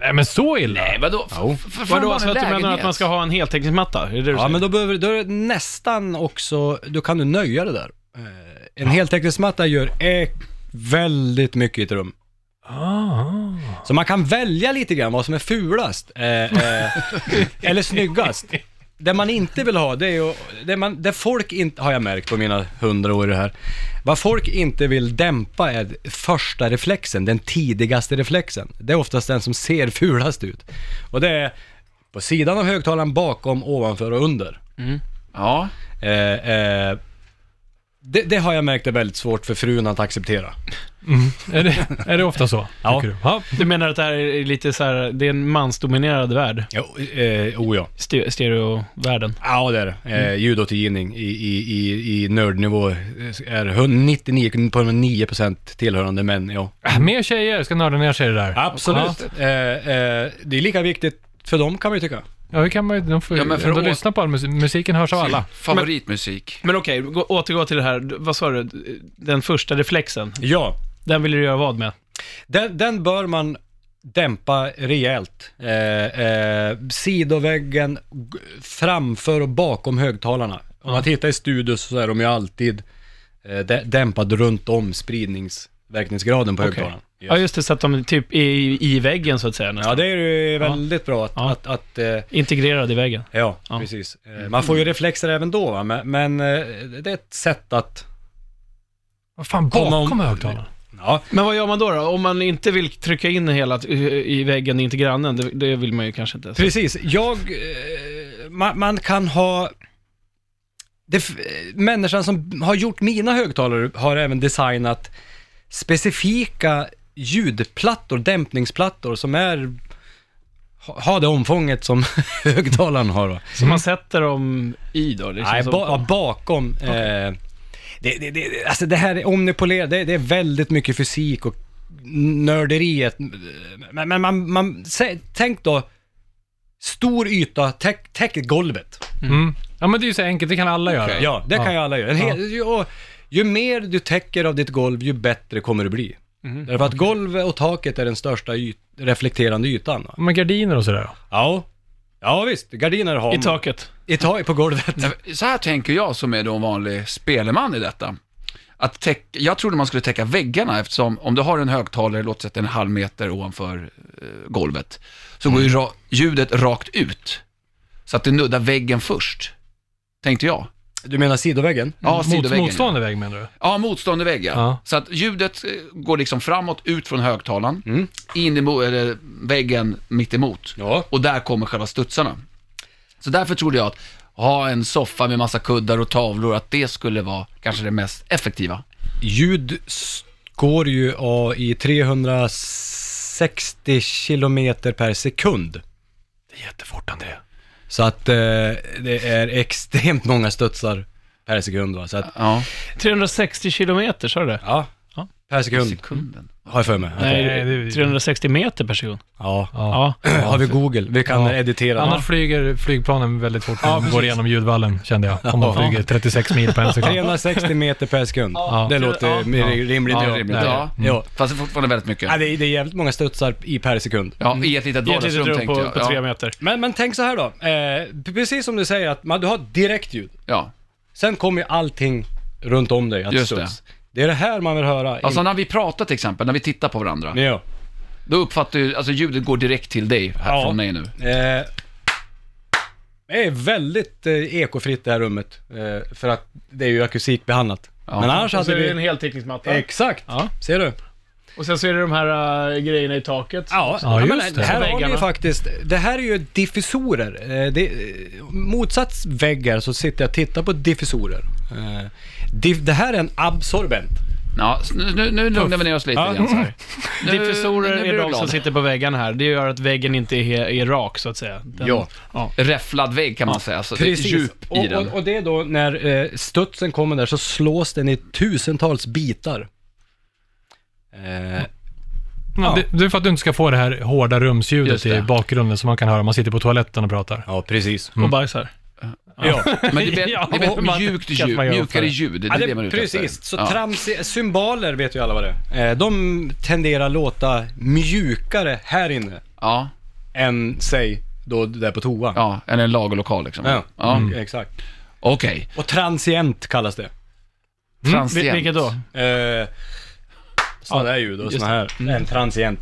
[SPEAKER 4] Nej, men så illa?
[SPEAKER 3] Nej, vadå?
[SPEAKER 5] Jo.
[SPEAKER 3] F- för fan,
[SPEAKER 2] Vadå,
[SPEAKER 3] bara
[SPEAKER 2] så
[SPEAKER 3] en
[SPEAKER 2] att du menar
[SPEAKER 3] lägenhet.
[SPEAKER 2] att man ska ha en heltäckningsmatta? Är det det du
[SPEAKER 5] Ja
[SPEAKER 2] säger?
[SPEAKER 5] men då behöver då är det nästan också, då kan du nöja dig där. Eh, en heltäckningsmatta gör eh, väldigt mycket i ett rum. Så man kan välja lite grann vad som är fulast eh, eh, eller snyggast. Det man inte vill ha, det är ju, det, man, det folk inte, har jag märkt på mina hundra år i det här, vad folk inte vill dämpa är första reflexen, den tidigaste reflexen. Det är oftast den som ser fulast ut. Och det är på sidan av högtalaren, bakom, ovanför och under.
[SPEAKER 3] Ja.
[SPEAKER 5] Eh, eh, det, det har jag märkt är väldigt svårt för frun att acceptera.
[SPEAKER 4] Är det, är det ofta så?
[SPEAKER 5] Ja.
[SPEAKER 4] tycker Du? ja.
[SPEAKER 2] Du menar att det här är lite så här, det är en mansdominerad värld?
[SPEAKER 5] Jo, eh, oh ja.
[SPEAKER 2] Ste- Stereovärlden.
[SPEAKER 5] Ja, det är det. Eh, ljudåtergivning i, i, i, i nördnivå är 99,9% tillhörande män, ja.
[SPEAKER 4] Äh, Mer tjejer ska nörda ner sig i det där.
[SPEAKER 5] Eh, eh, det är lika viktigt för dem kan man ju tycka.
[SPEAKER 4] Ja, hur kan man ju- de får ju
[SPEAKER 3] Ja, men för
[SPEAKER 4] ändå
[SPEAKER 3] å-
[SPEAKER 4] lyssna på all musik. Musiken hörs av alla.
[SPEAKER 3] Favoritmusik.
[SPEAKER 2] Men okej, gå- återgå till det här, D- vad sa du, den första reflexen.
[SPEAKER 5] Ja,
[SPEAKER 2] Den vill du göra vad med?
[SPEAKER 5] den, den bör man dämpa rejält. Eh, eh, sidoväggen, g- framför och bakom högtalarna. Om man tittar i studios så är de ju alltid eh, dä- dämpade runt om spridningsverkningsgraden på högtalaren.
[SPEAKER 2] Ja, just det, så att de är typ är i, i väggen så att säga nästan.
[SPEAKER 5] Ja, det är ju väldigt bra att,
[SPEAKER 2] Ja.
[SPEAKER 5] att, att eh,
[SPEAKER 2] Integrerad i väggen.
[SPEAKER 5] Ja,
[SPEAKER 2] Ja. Mm.
[SPEAKER 5] precis. Eh, Man får ju reflexer även då, va? Men, men eh, det är ett sätt att...
[SPEAKER 4] Vad fan,
[SPEAKER 5] Komma om-
[SPEAKER 4] bakom högtalarna?
[SPEAKER 5] Ja,
[SPEAKER 2] Men vad gör man då, då? Om man inte vill trycka in hela t- i väggen in till grannen, det, det vill man ju kanske inte. ens.
[SPEAKER 5] precis. Jag... eh, Man, man kan ha... Det, f- eh, människan som har gjort mina högtalare har även designat specifika ljudplattor, dämpningsplattor som är... ha- Har det omfånget som högtalaren har då.
[SPEAKER 2] Så man sätter dem i då? Liksom,
[SPEAKER 5] Nej,
[SPEAKER 2] så-
[SPEAKER 5] ba ja, bakom. Eh, det, det, det, alltså det här är omnipolerat, det, det är väldigt mycket fysik och nörderiet. Men, men man, man, sä- tänk då, stor yta, täck, täck golvet.
[SPEAKER 4] Mm. Ja, men det är ju så enkelt, det kan alla göra.
[SPEAKER 5] Ja, det kan ju alla göra. En hel, ju, och, ju mer du täcker av ditt golv, ju bättre kommer det bli. Därför att golvet och taket är den största yt, reflekterande ytan. va?
[SPEAKER 4] Med gardiner och sådär.
[SPEAKER 5] Ja. Ja visst, gardiner har
[SPEAKER 2] I
[SPEAKER 5] man.
[SPEAKER 2] taket?
[SPEAKER 5] I taket på golvet.
[SPEAKER 3] Eh, Så här tänker jag som är då en vanlig speleman i detta. Att täck, jag trodde man skulle täcka väggarna eftersom om du har en högtalare, låt säga en halv meter ovanför eh, golvet, så går ju ra, ljudet rakt ut. Så att det nuddar väggen först, tänkte jag.
[SPEAKER 5] Du menar sidoväggen?
[SPEAKER 3] Ja,
[SPEAKER 4] Mm, Mot,
[SPEAKER 3] sidoväggen.
[SPEAKER 4] motstående väg menar du?
[SPEAKER 3] Ja, motstående vägg ja.
[SPEAKER 4] Ja.
[SPEAKER 3] Så att ljudet eh, går liksom framåt, ut från högtalaren, in i mo- eller väggen mitt emot.
[SPEAKER 5] Ja.
[SPEAKER 3] Och där kommer själva studsarna. Så därför trodde jag att ha en soffa med massa kuddar och tavlor, att det skulle vara kanske det mest effektiva.
[SPEAKER 5] Ljud s- går ju av i 360 kilometer per sekund.
[SPEAKER 4] Det är jättefort André.
[SPEAKER 5] Så att eh, det är extremt många studsar per sekund. Va? Så att,
[SPEAKER 3] Ja,
[SPEAKER 2] 360 kilometer, sa du det?
[SPEAKER 5] ja,
[SPEAKER 2] Ja.
[SPEAKER 5] per sekund
[SPEAKER 3] sekunden.
[SPEAKER 5] har jag för mig.
[SPEAKER 2] Nej,
[SPEAKER 4] Nej, det är-
[SPEAKER 2] 360 meter per sekund.
[SPEAKER 5] Ja.
[SPEAKER 2] Ja.
[SPEAKER 5] Har vi Google? Vi kan
[SPEAKER 4] Ja.
[SPEAKER 5] editera.
[SPEAKER 4] Annars flyger flygplanen väldigt fort när de går igenom ljudvallen, kände jag. Om de flyger 36 mil på en sekund.
[SPEAKER 5] 360 meter per sekund.
[SPEAKER 4] Ja.
[SPEAKER 5] Det
[SPEAKER 4] Ja.
[SPEAKER 5] låter mer rimligt.
[SPEAKER 3] Ja,
[SPEAKER 5] Ja.
[SPEAKER 3] rimligt.
[SPEAKER 5] Nej.
[SPEAKER 3] Ja.
[SPEAKER 5] Ja.
[SPEAKER 3] Fast det är fortfarande väldigt mycket.
[SPEAKER 5] Ja, det, är, det är jävligt många studsar i per sekund.
[SPEAKER 3] Ja, i ett litet
[SPEAKER 2] I ett litet
[SPEAKER 3] vardagsrum
[SPEAKER 2] rum
[SPEAKER 3] tänkte
[SPEAKER 2] på,
[SPEAKER 3] jag.
[SPEAKER 2] på tre
[SPEAKER 3] Ja,
[SPEAKER 2] meter.
[SPEAKER 5] Men, men tänk så här då. Eh, p- precis som du säger att man, du har direkt ljud.
[SPEAKER 3] ja.
[SPEAKER 5] Sen kommer ju allting runt om dig att
[SPEAKER 3] Just
[SPEAKER 5] studs. Det. är det här man vill höra.
[SPEAKER 3] Alltså när vi pratar till exempel, när vi tittar på varandra,
[SPEAKER 5] In... Ja.
[SPEAKER 3] då uppfattar du, alltså ljudet går direkt till dig här
[SPEAKER 5] Ja.
[SPEAKER 3] från mig nu.
[SPEAKER 5] Eh, det är väldigt eh, ekofritt det här rummet. Eh, för att det är ju akustikbehandlat.
[SPEAKER 3] Ja.
[SPEAKER 5] Men annars
[SPEAKER 2] Och så
[SPEAKER 5] hade
[SPEAKER 2] är det en
[SPEAKER 5] vi...
[SPEAKER 2] heltäckningsmatta.
[SPEAKER 5] Exakt!
[SPEAKER 2] Ja.
[SPEAKER 5] Ser du?
[SPEAKER 2] Och sen så är det de här äh, grejerna i taket.
[SPEAKER 5] Ja,
[SPEAKER 4] Ja,
[SPEAKER 5] men
[SPEAKER 4] just det.
[SPEAKER 5] här har vi
[SPEAKER 2] Väggarna.
[SPEAKER 5] ju faktiskt... Det här är ju diffusorer. Eh, det, eh, motsats väggar så sitter jag och tittar på diffusorer. Eh, diff, det här är en absorbent.
[SPEAKER 3] Ja, s- nu, nu, nu lugnar vi ner oss lite
[SPEAKER 5] Ja.
[SPEAKER 3] igen så här. Nu-
[SPEAKER 2] Diffusorer
[SPEAKER 3] nu blir
[SPEAKER 2] är
[SPEAKER 3] du
[SPEAKER 2] de
[SPEAKER 3] glad.
[SPEAKER 2] som sitter på väggarna här. Det gör att väggen inte är, he- är rak, så att säga. Den,
[SPEAKER 5] Ja.
[SPEAKER 3] Räfflad vägg kan man säga, så det är djup i
[SPEAKER 5] och,
[SPEAKER 3] den.
[SPEAKER 5] Och, och det är då när eh, studsen kommer där så slås den i tusentals bitar. Eh,
[SPEAKER 4] Ja, det, det är för att du inte ska få det här hårda rumsljudet
[SPEAKER 3] Just det.
[SPEAKER 4] i bakgrunden som man kan höra om man sitter på toaletten och pratar.
[SPEAKER 5] ja, precis.
[SPEAKER 2] Och bajsar.
[SPEAKER 5] Ja,
[SPEAKER 3] men det blir,
[SPEAKER 4] Ja,
[SPEAKER 3] det blir
[SPEAKER 4] och man-
[SPEAKER 3] mjukt
[SPEAKER 4] att
[SPEAKER 3] ljud,
[SPEAKER 4] man gör
[SPEAKER 3] mjukare
[SPEAKER 4] för-
[SPEAKER 3] ljud, det är
[SPEAKER 5] ja
[SPEAKER 3] det,
[SPEAKER 5] det,
[SPEAKER 3] man är ute
[SPEAKER 5] precis.
[SPEAKER 3] efter.
[SPEAKER 5] Så
[SPEAKER 3] ja.
[SPEAKER 5] tramsiga, symboler vet ju alla vad det är. Eh, de tenderar låta mjukare här inne
[SPEAKER 3] ja,
[SPEAKER 5] än, säg, då där på toa.
[SPEAKER 3] ja, eller en lagerlokal liksom.
[SPEAKER 5] Ja. Mm.
[SPEAKER 3] Ja.
[SPEAKER 5] Exakt.
[SPEAKER 3] Okej,
[SPEAKER 5] Mm. Och transient kallas det.
[SPEAKER 3] transient.
[SPEAKER 2] Vil- Vilket då?
[SPEAKER 5] Eh, Sådana här ljud och såna här.
[SPEAKER 3] Mm.
[SPEAKER 5] En transient.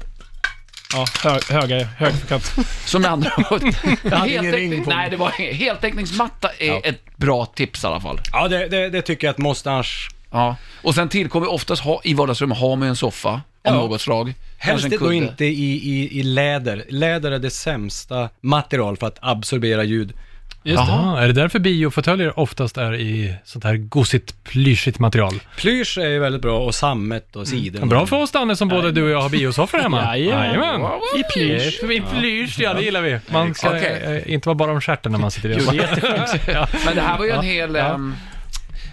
[SPEAKER 2] Ja, hög, höga, högfrekvent.
[SPEAKER 3] Som med andra ord.
[SPEAKER 5] ingen ring på mig.
[SPEAKER 3] nej, det var heltäckningsmatta är
[SPEAKER 5] Ja.
[SPEAKER 3] ett bra tips i alla fall.
[SPEAKER 5] Ja, det, det, det tycker jag att måste annars...
[SPEAKER 3] Ja. Och sen tillkommer oftast ha, i vardagsrummet, har man ju en soffa av något slag. Kanske
[SPEAKER 5] Helst
[SPEAKER 3] en
[SPEAKER 5] då
[SPEAKER 3] kudde.
[SPEAKER 5] inte i, i, i läder. Läder är det sämsta material för att absorbera ljud.
[SPEAKER 4] Just det. Jaha, är det därför biofåtöljer oftast är i sånt här gosigt, plyschigt material?
[SPEAKER 5] Plysch är ju väldigt bra och sammet och siden.
[SPEAKER 4] Bra för oss Danne som både du och jag har biosoffor hemma.
[SPEAKER 2] Jajamän.
[SPEAKER 4] I plysch. I plysch, ja det gillar vi. Man ska
[SPEAKER 3] Okej.
[SPEAKER 4] eh, inte vara bara om stjärten när man sitter i det.
[SPEAKER 3] Men det här var ju en hel... ehm,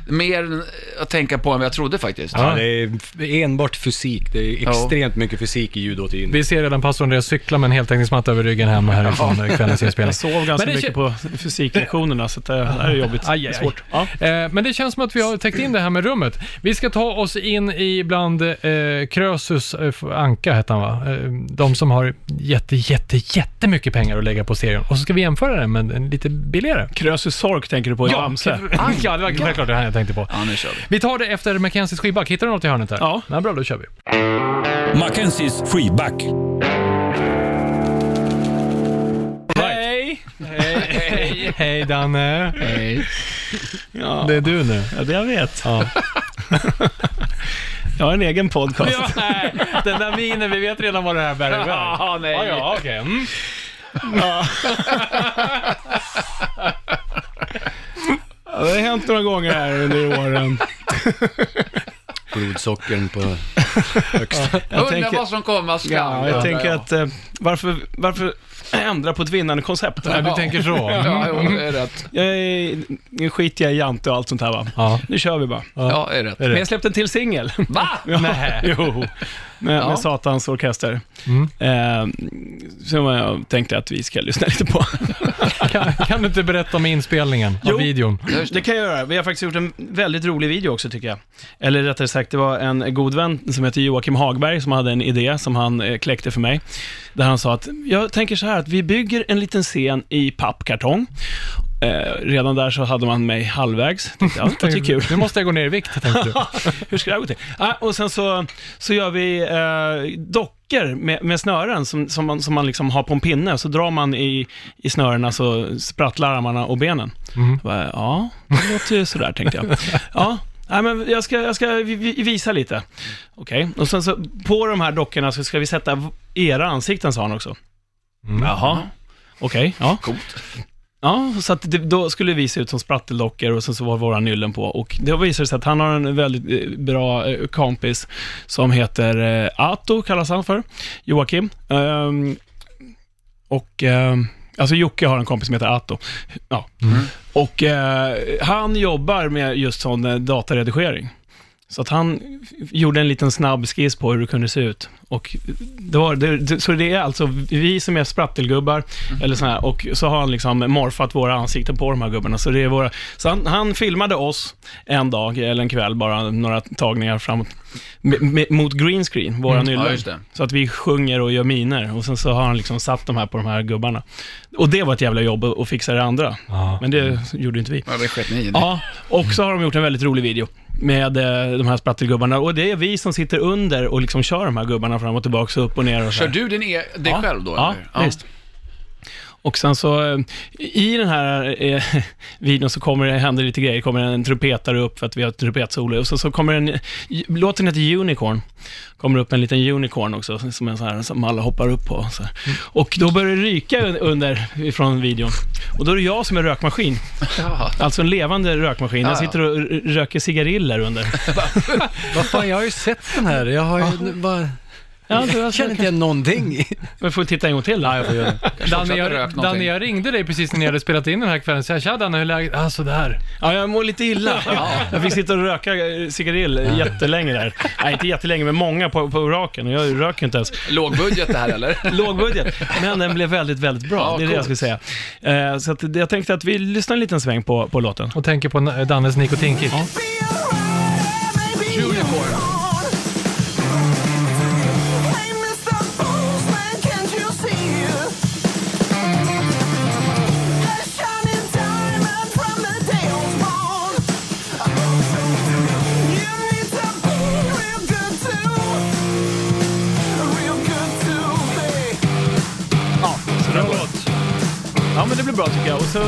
[SPEAKER 3] mer att tänka på än vad jag trodde faktiskt.
[SPEAKER 5] Ja, det är f- enbart fysik. Det är
[SPEAKER 3] Ja.
[SPEAKER 5] extremt mymycket fysik i ljudåtergivning.
[SPEAKER 4] Vi ser redan pastorn Andreas cykla med en heltäckningsmatta över ryggen hem och härifrån eh, kvällens inspelning.
[SPEAKER 2] Jag sov ganska
[SPEAKER 4] Men det
[SPEAKER 2] mycket på fysiklektionerna, så att det, det här är jobbigt.
[SPEAKER 4] Aj, aj, aj.
[SPEAKER 2] Svårt. Ja.
[SPEAKER 4] Eh, men det känns som att vi har täckt in det här med rummet. Vi ska ta oss in i bland eh, Krösus, eh, f- Anka hette han va? Eh, de som har jätte, jätte, jättemycket pengar att lägga på serien. Och så ska vi jämföra den med en lite billigare.
[SPEAKER 2] Krösus Sork tänker du på i Bamse.
[SPEAKER 4] ja, det var självklart det här jag tänkte på.
[SPEAKER 3] Ja, nu kör vi.
[SPEAKER 4] Vi tar det efter Mackenzies skivback. Hittar du något i hörnet där?
[SPEAKER 2] Ja.
[SPEAKER 4] bra, då kör vi.
[SPEAKER 1] Mackenzies skivback.
[SPEAKER 4] Eh, Hej! Hej, hej Danne. Hej.
[SPEAKER 2] Ja.
[SPEAKER 4] Det är du nu.
[SPEAKER 2] Ja, det jag vet. jag har en egen podcast.
[SPEAKER 4] Ja, nej. Den där minen, vi vet redan vad det här bär iväg.
[SPEAKER 3] Ja, nej.
[SPEAKER 4] Ja, ja, okej. Mm.
[SPEAKER 2] Ja, Det har hänt några gånger här under åren.
[SPEAKER 5] Blodsockern på...
[SPEAKER 2] Jag
[SPEAKER 3] Undrar
[SPEAKER 2] tänker,
[SPEAKER 3] vad som komma skall.
[SPEAKER 2] ja, jag tänker att eh, varför, varför ändra på ett vinnande koncept?
[SPEAKER 4] Ja, du tänker så.
[SPEAKER 3] Ja, jo, det är rätt.
[SPEAKER 2] Jag är, nu skiter jag i Jante och allt sånt här va.
[SPEAKER 4] Ja.
[SPEAKER 2] Nu kör vi bara.
[SPEAKER 3] Ja, det är rätt.
[SPEAKER 2] Men jag släppte en till singel.
[SPEAKER 3] Va?
[SPEAKER 2] Ja,
[SPEAKER 4] Nej.
[SPEAKER 2] Jo, med,
[SPEAKER 3] Ja.
[SPEAKER 2] med Satans orkester.
[SPEAKER 4] Mm.
[SPEAKER 2] Eh, som jag tänkte att vi ska lyssna lite på.
[SPEAKER 4] Kan, kan du inte berätta om inspelningen
[SPEAKER 2] Jo.
[SPEAKER 4] av videon?
[SPEAKER 2] Det kan jag göra. Vi har faktiskt gjort en väldigt rolig video också tycker jag. Eller rättare sagt, det var en god vän som heter Joakim Hagberg som hade en idé som han eh, kläckte för mig. Där han sa att, jag tänker så här att vi bygger en liten scen i pappkartong. Eh, redan där så hade man mig halvvägs. Tänkte, ja, det är kul.
[SPEAKER 4] Nu måste jag gå ner i vikt, tänkte du.
[SPEAKER 2] Hur ska det här gå till? Ah, och sen så, så gör vi eh, dockor med, med snören som, som, man, som man liksom har på en pinne. Så drar man i, i snörena så sprattlar armarna och benen.
[SPEAKER 4] Mm.
[SPEAKER 2] Jag Bara, ja, det låter ju sådär tänkte jag. Ja, nej, men jag ska, jag ska vi- vi- visa lite. Okej, och sen så på de här dockorna så ska vi sätta v- era ansikten sa han också.
[SPEAKER 4] Mm.
[SPEAKER 2] Jaha. Okej, ja.
[SPEAKER 3] Coolt.
[SPEAKER 2] Ja, så att det, då skulle vi se ut som spratteldockor och sen så var våra nyllen på. Och det visade sig att han har en väldigt eh, bra eh, kompis som heter eh, Ato, kallas han för, Joakim. Ehm, och, ehm, alltså Jocke har en kompis som heter Ato. Ja. Och eh, han jobbar med just sån eh, dataredigering. Så att han f- gjorde en liten snabb skiss på hur det kunde se ut. Och det var, det- det, så det är alltså vi som är sprattelgubbar,
[SPEAKER 3] Mm.
[SPEAKER 2] eller så här, och så har han liksom morfat våra ansikten på de här gubbarna. Så, det är våra, så han, han filmade oss en dag, eller en kväll, bara några tagningar framåt, med, med, mot green screen, våra
[SPEAKER 3] Mm. Ja,
[SPEAKER 2] nyllen.
[SPEAKER 3] just det.
[SPEAKER 2] Så att vi sjunger och gör miner och sen så har han liksom satt de här på de här gubbarna. Och det var ett jävla jobb att att fixa det andra.
[SPEAKER 4] Ja.
[SPEAKER 2] Men det gjorde inte vi.
[SPEAKER 3] Ja, det sket ni i.
[SPEAKER 2] Ja, och så har de gjort en väldigt rolig video med eh, de här sprattelgubbarna. Och det är vi som sitter under och liksom kör de här gubbarna fram och tillbaka, upp och ner och så
[SPEAKER 3] Kör
[SPEAKER 2] här.
[SPEAKER 3] du din e- dig
[SPEAKER 2] Ja.
[SPEAKER 3] själv då?
[SPEAKER 2] Ja,
[SPEAKER 3] eller?
[SPEAKER 2] visst. Och sen så, eh, i den här eh, videon så kommer det, händer lite grejer. Det kommer en trumpetare upp för att vi har trumpetsolo. Och sen så kommer en, låten heter Unicorn. kommer upp en liten unicorn också, som en sån här som alla hoppar upp på. Så här.
[SPEAKER 3] Mm.
[SPEAKER 2] Och då börjar det ryka un- under, ifrån videon. Och då är det jag som är rökmaskin.
[SPEAKER 3] Ja.
[SPEAKER 2] Alltså en levande rökmaskin.
[SPEAKER 3] Ja,
[SPEAKER 2] Jag
[SPEAKER 3] ja.
[SPEAKER 2] sitter och r- röker cigariller under.
[SPEAKER 5] Vad fan, jag har ju sett den här. Jag har ju... Bara...
[SPEAKER 2] Ja, du har
[SPEAKER 5] Jag känner inte igen någonting.
[SPEAKER 2] Men får vi titta en gång till då? Ja, jag får göra det.
[SPEAKER 4] Danne,
[SPEAKER 3] hade rökt
[SPEAKER 4] jag,
[SPEAKER 3] någonting.
[SPEAKER 4] Danne, jag ringde dig precis när ni hade spelat in den här kvällen. Så jag tja Danne, hur är läget? Ah, sådär.
[SPEAKER 2] Ja, jag mår lite illa. Jag fick sitta och röka eh, cigarill jättelänge där. Nej, inte jättelänge, men många på, på raken. Och jag röker inte ens.
[SPEAKER 3] Lågbudget det här eller?
[SPEAKER 2] Låg budget, men den blev väldigt, väldigt bra.
[SPEAKER 3] Ja,
[SPEAKER 2] det är det jag
[SPEAKER 3] coolt.
[SPEAKER 2] skulle säga. Eh, Så att jag tänkte att vi lyssnar en liten sväng på, på låten.
[SPEAKER 4] Och tänker på eh, Dannes nikotinkick.
[SPEAKER 3] Unicorn.
[SPEAKER 6] Thank
[SPEAKER 2] blir bra tycker jag. Och så,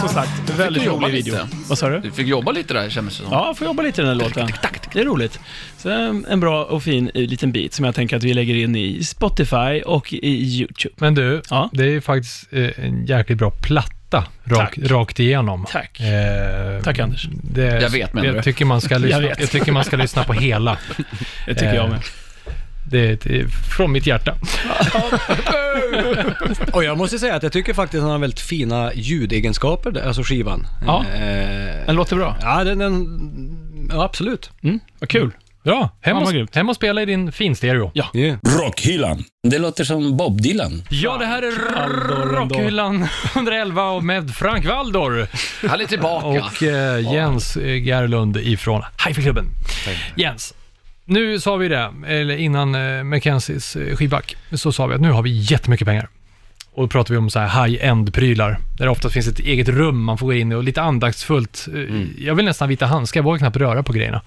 [SPEAKER 2] som sagt, väldigt
[SPEAKER 3] jobba
[SPEAKER 2] rolig
[SPEAKER 3] lite.
[SPEAKER 2] video. Vad sa du?
[SPEAKER 3] Du fick jobba lite där kändes det som.
[SPEAKER 2] Ja, får jobba lite i den här låten. Det är roligt. Så en en bra och fin eh, liten bit som jag tänker att vi lägger in i Spotify och i YouTube.
[SPEAKER 4] Men du,
[SPEAKER 2] Ja.
[SPEAKER 4] det är ju faktiskt eh, en jäkligt bra platta rak,
[SPEAKER 2] Tack.
[SPEAKER 4] rakt igenom.
[SPEAKER 2] Tack.
[SPEAKER 4] Eh,
[SPEAKER 2] Tack Anders.
[SPEAKER 4] Det,
[SPEAKER 3] Jag vet, menar du?
[SPEAKER 4] jag tycker, man ska lyssna,
[SPEAKER 2] Jag
[SPEAKER 4] jag,
[SPEAKER 2] vet.
[SPEAKER 4] tycker man ska lyssna på hela.
[SPEAKER 2] Det tycker
[SPEAKER 4] Eh,
[SPEAKER 2] jag med.
[SPEAKER 4] Det, det är eh, från mitt hjärta.
[SPEAKER 5] Och jag måste säga att jag tycker faktiskt att han har väldigt fina ljudegenskaper, alltså skivan.
[SPEAKER 2] Ja.
[SPEAKER 5] Eh,
[SPEAKER 2] Den låter bra.
[SPEAKER 5] ja, den, den ja, absolut.
[SPEAKER 2] Mm, vad kul.
[SPEAKER 4] Bra, hem,
[SPEAKER 2] Ja, vad
[SPEAKER 4] och,
[SPEAKER 2] grymt.
[SPEAKER 4] hem och spela i din finstereo.
[SPEAKER 5] Yeah.
[SPEAKER 1] Rockhyllan. Det låter som Bob Dylan.
[SPEAKER 4] Ja, det här är
[SPEAKER 2] Valdor ändå.
[SPEAKER 4] Rockhyllan 111 och med Frank Valdor
[SPEAKER 3] Han är tillbaka.
[SPEAKER 4] och eh, Jens eh, Gerlund ifrån Hifi-klubben. Jens, nu sa vi det, eller innan eh, Mackenzies eh, skivback, så sa vi att nu har vi jättemycket pengar. Och då pratar vi om så här high-end-prylar, där det ofta finns ett eget rum man får gå in i och lite andaktsfullt. eh, Jag vill nästan ha vita handskar, jag vågar knappt röra på grejerna.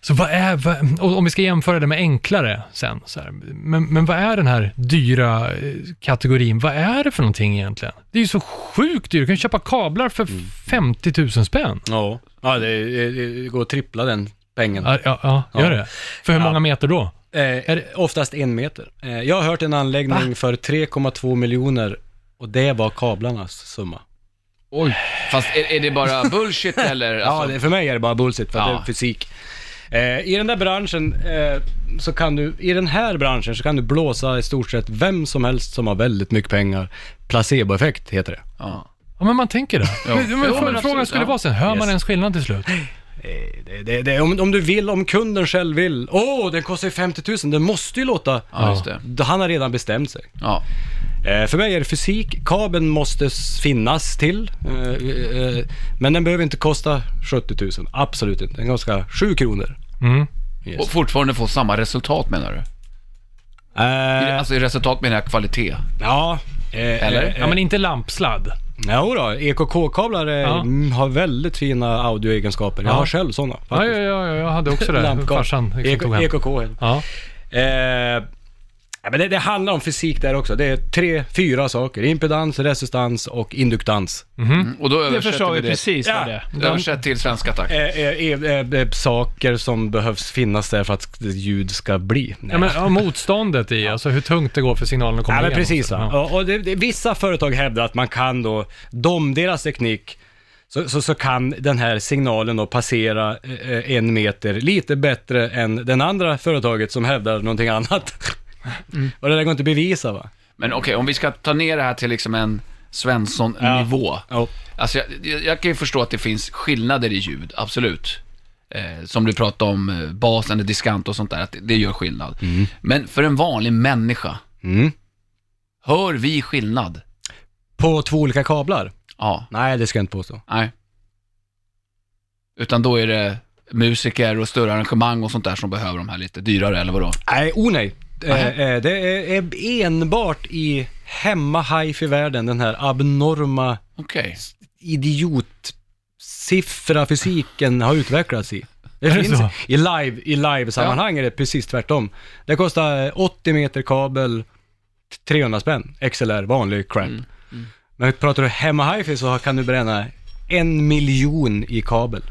[SPEAKER 4] Så vad är, vad, och om vi ska jämföra det med enklare sen, så här, men, men vad är den här dyra eh, kategorin, vad är det för någonting egentligen? Det är ju så sjukt dyrt, du kan köpa kablar för 50 000 spänn.
[SPEAKER 5] Ja, ja det, det, det går att trippla den pengen.
[SPEAKER 4] Ja, ja, ja gör det. För hur många meter då?
[SPEAKER 5] Eh, är det oftast en meter. Eh, jag har hört en anläggning för 3,2 miljoner och det var kablarnas summa.
[SPEAKER 3] Oj. Fast är, är det bara bullshit eller?
[SPEAKER 5] Ja,
[SPEAKER 3] Alltså,
[SPEAKER 5] det, för mig är det bara bullshit för att
[SPEAKER 3] Ja.
[SPEAKER 5] det är fysik. Eh, I den där branschen eh, så kan du, i den här branschen så kan du blåsa i stort sett vem som helst som har väldigt mycket pengar. Placeboeffekt heter det.
[SPEAKER 3] ja.
[SPEAKER 4] Ja, men man tänker det.
[SPEAKER 3] Ja.
[SPEAKER 4] Men,
[SPEAKER 3] Jo,
[SPEAKER 4] men,
[SPEAKER 3] men
[SPEAKER 4] frågan
[SPEAKER 3] absolut,
[SPEAKER 4] skulle
[SPEAKER 3] ja.
[SPEAKER 4] vara sen, hör man
[SPEAKER 5] Yes.
[SPEAKER 4] ens skillnad till slut?
[SPEAKER 5] Eh, Det, det, det, om, om du vill, om kunden själv vill. Åh, den kostar ju 50 000, den måste ju låta...
[SPEAKER 3] ja, just det.
[SPEAKER 5] Han har redan bestämt sig.
[SPEAKER 3] Ja.
[SPEAKER 5] Eh, för mig är det fysik. Kabeln måste s- finnas till. Eh, eh, men den behöver inte kosta 70 000. Absolut inte. Den kostar 7 kronor.
[SPEAKER 4] Mm.
[SPEAKER 5] Yes.
[SPEAKER 3] Och fortfarande få samma resultat menar du? I-
[SPEAKER 5] Eh,
[SPEAKER 3] Alltså i resultat menar jag kvalitet.
[SPEAKER 5] ja. Eh,
[SPEAKER 3] Eller?
[SPEAKER 5] Eh,
[SPEAKER 4] Ja, men inte lampsladd.
[SPEAKER 5] jo då, EKK-kablar eh,
[SPEAKER 4] Ja.
[SPEAKER 5] mm, har väldigt fina audioegenskaper. Jag
[SPEAKER 4] Ja.
[SPEAKER 5] har själv sådana.
[SPEAKER 4] Ja, ja, ja, ja, jag hade också det. Farsan
[SPEAKER 5] E
[SPEAKER 4] liksom, tog hem.
[SPEAKER 5] EKK.
[SPEAKER 4] Ja.
[SPEAKER 5] Eh, ja, men det, det handlar om fysik där också. Det är tre, fyra saker. Impedans, resistans och induktans.
[SPEAKER 3] Mm. Och då
[SPEAKER 2] Det
[SPEAKER 3] översätter
[SPEAKER 2] förstår
[SPEAKER 3] vi
[SPEAKER 2] vi
[SPEAKER 3] det.
[SPEAKER 2] precis
[SPEAKER 5] Ja.
[SPEAKER 2] vad det är.
[SPEAKER 3] Översätt till svenska tack.
[SPEAKER 5] Eh, eh, eh, eh, saker som behövs finnas där för att ljud ska bli. Nej.
[SPEAKER 4] Ja, men, ja, motståndet i, alltså hur tungt det går för signalen att komma
[SPEAKER 5] Ja, men
[SPEAKER 4] igenom.
[SPEAKER 5] precis.
[SPEAKER 4] Så,
[SPEAKER 5] Va?
[SPEAKER 4] ja.
[SPEAKER 5] Ja. Och det, det, vissa företag hävdar att man kan då, de deras teknik, så, så, så kan den här signalen då passera eh, eh, en meter lite bättre än den andra företaget som hävdar någonting annat. Och det där går inte att bevisa va?
[SPEAKER 3] Men okej, om vi ska ta ner det här till liksom en Svensson-nivå.
[SPEAKER 5] Ja.
[SPEAKER 3] Alltså jag, jag, jag kan ju förstå att det finns skillnader i ljud, absolut. Eh, som du pratade om, eh, basen, och diskant och sånt där, att det, det gör skillnad. Men för en vanlig människa,
[SPEAKER 5] Mm.
[SPEAKER 3] hör vi skillnad?
[SPEAKER 5] På två olika kablar?
[SPEAKER 3] Ja,
[SPEAKER 5] Nej, det ska jag inte påstå.
[SPEAKER 3] nej. Utan då är det musiker och större arrangemang och sånt där som behöver de här lite dyrare, eller vadå?
[SPEAKER 5] Nej, oh nej.
[SPEAKER 3] Aha.
[SPEAKER 5] Eh, eh, det är är enbart i hemma hifi världen den här abnorma
[SPEAKER 3] Okej.
[SPEAKER 5] idiotsiffra fysiken har utvecklats i. Det
[SPEAKER 4] Är det
[SPEAKER 5] finns
[SPEAKER 4] så?
[SPEAKER 5] i live, i live-sammanhang är det precis tvärtom. Det kostar eh, 80 meter kabel, 300 spänn, XLR, vanlig crap.
[SPEAKER 4] Mm,
[SPEAKER 5] Men pratar du hemma hifi så kan du bränna en miljon i kabel.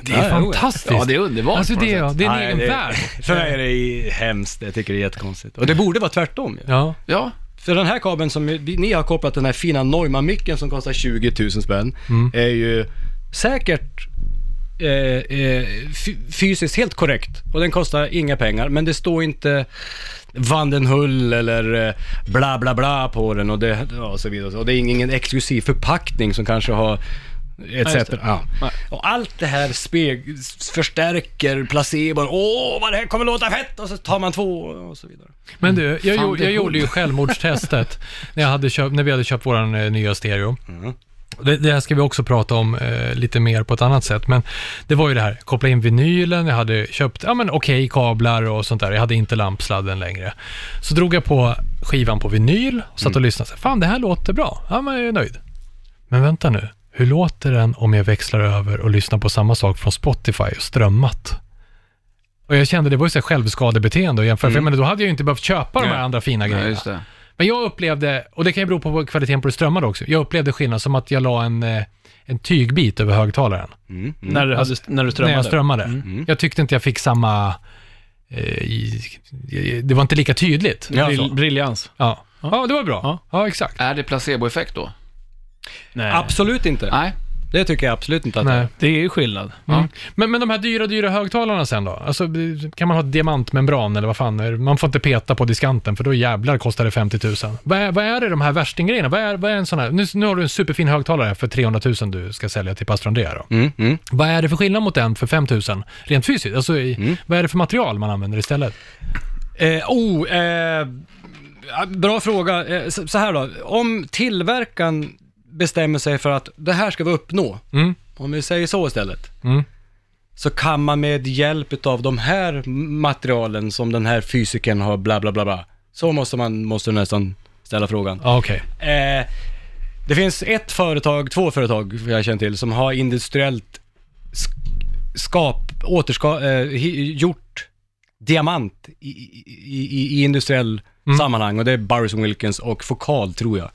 [SPEAKER 4] Det är fantastiskt.
[SPEAKER 3] Ja, det är underbart
[SPEAKER 4] Alltså
[SPEAKER 3] på något
[SPEAKER 4] det, är-
[SPEAKER 3] sätt.
[SPEAKER 4] det är en
[SPEAKER 5] Nej,
[SPEAKER 4] egen
[SPEAKER 5] det-
[SPEAKER 4] värld.
[SPEAKER 5] För mig är det i- hemskt, jag tycker det är jättekonstigt. Och det borde vara tvärtom ju.
[SPEAKER 4] Ja.
[SPEAKER 3] Ja,
[SPEAKER 5] För den här kabeln som vi- ni har kopplat, den här fina Neumann-micken som kostar 20 000 spänn, är ju säkert eh, eh, fy- fysiskt helt korrekt. Och den kostar inga pengar, men det står inte Vandenhull eller eh, bla bla bla på den och, det, ja, och så vidare. Och det är ingen exklusiv förpackning som kanske har Etc. Ja. Och allt det här speg, s- förstärker placebon. Åh, vad det här kommer låta fett! Och så tar man två och så vidare.
[SPEAKER 4] Men du, jag,
[SPEAKER 3] Fan,
[SPEAKER 4] gjorde-
[SPEAKER 3] det
[SPEAKER 4] jag
[SPEAKER 3] är
[SPEAKER 4] gjorde ju självmordstestet när, jag hade köpt, när vi hade köpt vår eh, nya stereo.
[SPEAKER 3] Mm.
[SPEAKER 4] Det, det här ska vi också prata om eh, lite mer på ett annat sätt, men det var ju det här, koppla in vinylen, jag hade köpt, ja men okej, kablar och sånt där, jag hade inte lampsladden längre. Så drog jag på skivan på vinyl, satt
[SPEAKER 3] Mm.
[SPEAKER 4] och lyssnade, så här, fan det här låter bra, ja men jag är nöjd. Men vänta nu, hur låter den om jag växlar över och lyssnar på samma sak från Spotify och strömmat? Och jag kände, det var ju så här självskadebeteende att jämföra, för jag menar, då hade jag ju inte behövt köpa de här
[SPEAKER 5] Nej.
[SPEAKER 4] andra fina
[SPEAKER 3] ja
[SPEAKER 4] grejerna.
[SPEAKER 3] just det.
[SPEAKER 4] Men jag upplevde, och det kan ju bero på kvaliteten på det strömmade också, jag upplevde skillnad som att jag la en, eh, en tygbit över högtalaren
[SPEAKER 5] Mm. Mm.
[SPEAKER 2] När, du hade, när du strömmade?
[SPEAKER 4] när jag strömmade.
[SPEAKER 5] Mm.
[SPEAKER 4] Jag tyckte inte jag fick samma, eh, i- i- det var inte lika tydligt.
[SPEAKER 5] Ja,
[SPEAKER 2] Brill-
[SPEAKER 5] så.
[SPEAKER 2] Briljans?
[SPEAKER 4] Ja. ja, det var bra.
[SPEAKER 2] Ja.
[SPEAKER 4] Ja, exakt.
[SPEAKER 3] Är det placeboeffekt då?
[SPEAKER 2] Nej.
[SPEAKER 5] Absolut inte.
[SPEAKER 3] Nej.
[SPEAKER 5] Det tycker jag absolut inte att det
[SPEAKER 4] Nej.
[SPEAKER 5] är.
[SPEAKER 2] Det är ju skillnad.
[SPEAKER 4] Mm. Men, men de här dyra, dyra högtalarna sen då? Alltså, kan man ha diamantmembran eller vad fan är det? Man får inte peta på diskanten för då jävlar kostar det 50 000. Vad är, vad är det de här värstinggrejerna? Vad är, vad är en sån här? Nu, nu har du en superfin högtalare för 300 000 du ska sälja till pastor Andrea då.
[SPEAKER 5] Mm. Mm.
[SPEAKER 4] Vad är det för skillnad mot den för 5 000 rent fysiskt? Alltså, i,
[SPEAKER 5] Mm.
[SPEAKER 4] vad är det för material man använder istället?
[SPEAKER 5] Eh, oh, eh, ja, bra fråga. Eh, så, så här då, om tillverkaren bestämmer sig för att det här ska vi uppnå,
[SPEAKER 4] Mm.
[SPEAKER 5] om vi säger så istället,
[SPEAKER 4] Mm.
[SPEAKER 5] så kan man med hjälp av de här materialen som den här fysikern har bla bla bla bla, så måste man måste nästan ställa frågan.
[SPEAKER 4] Ja, okej.
[SPEAKER 5] Eh, det finns ett företag, två företag jag känner till, som har industriellt sk- skap, återska, eh, hi- gjort diamant i, i, i, i industriell sammanhang och det är Burroughs Wilkins och Focal tror jag.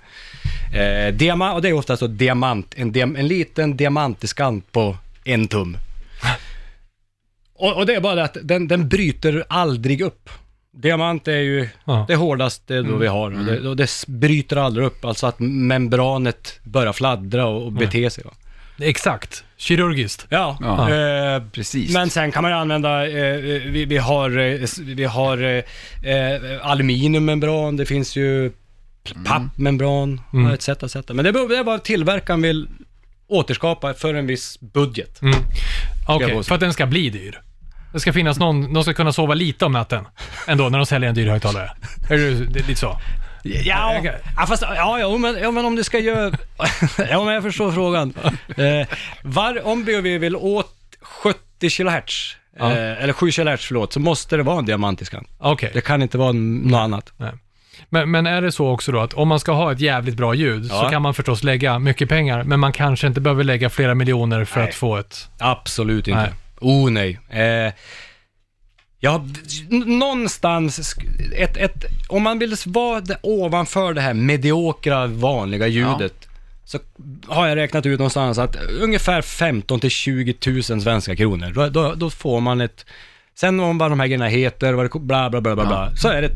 [SPEAKER 5] Eh, diama- och det är oftast då diamant, en, diam- en liten diamantdiskant på en tum. Och, och det är bara det att den, den bryter aldrig upp. Diamant är ju
[SPEAKER 4] Ja.
[SPEAKER 5] det hårdaste då vi har och det, och det s- bryter aldrig upp, alltså att membranet börjar fladdra och, och bete sig. va.
[SPEAKER 4] Exakt. Kirurgiskt.
[SPEAKER 5] Ja,
[SPEAKER 3] Ja.
[SPEAKER 5] Eh,
[SPEAKER 3] Precis.
[SPEAKER 5] men sen kan man ju använda, eh, vi, vi har, eh, s- vi har eh, eh, aluminiummembran, det finns ju pl- pappmembran,
[SPEAKER 4] Mm.
[SPEAKER 5] mm. etc, etc. Men det beror det är vad tillverkaren vill återskapa för en viss budget.
[SPEAKER 4] Mm. Okej,
[SPEAKER 5] jag gå och-
[SPEAKER 4] för att den ska bli dyr. Det ska finnas någon, de ska kunna sova lite om natten ändå när de säljer en dyr högtalare. Är det, det är lite så?
[SPEAKER 5] Ja,
[SPEAKER 4] Okej.
[SPEAKER 5] ja, fast, ja, ja, men, ja men om du ska göra... ja, men jag förstår frågan. Eh, var, om vi vill åt 70 kHz,
[SPEAKER 4] Ja.
[SPEAKER 5] eh, eller 7 kHz förlåt, så måste det vara en diamantiskan.
[SPEAKER 4] Okej.
[SPEAKER 5] Det kan inte vara n- något annat.
[SPEAKER 4] Men, men är det så också då att om man ska ha ett jävligt bra ljud så
[SPEAKER 5] Ja.
[SPEAKER 4] kan man förstås lägga mycket pengar, men man kanske inte behöver lägga flera miljoner för
[SPEAKER 5] Nej.
[SPEAKER 4] att få ett...
[SPEAKER 5] Absolut inte.
[SPEAKER 4] Nej.
[SPEAKER 5] Oh nej. Eh, ja, d- n- någonstans, sk- ett, ett, om man vill vara d- ovanför det här mediokra, vanliga ljudet, så har jag räknat ut någonstans att ungefär 15 till 20 000 svenska kronor, då, då, då får man ett... Sen om vad de här grejerna heter, vad det, ko- bla bla bla bla, bla så är det ett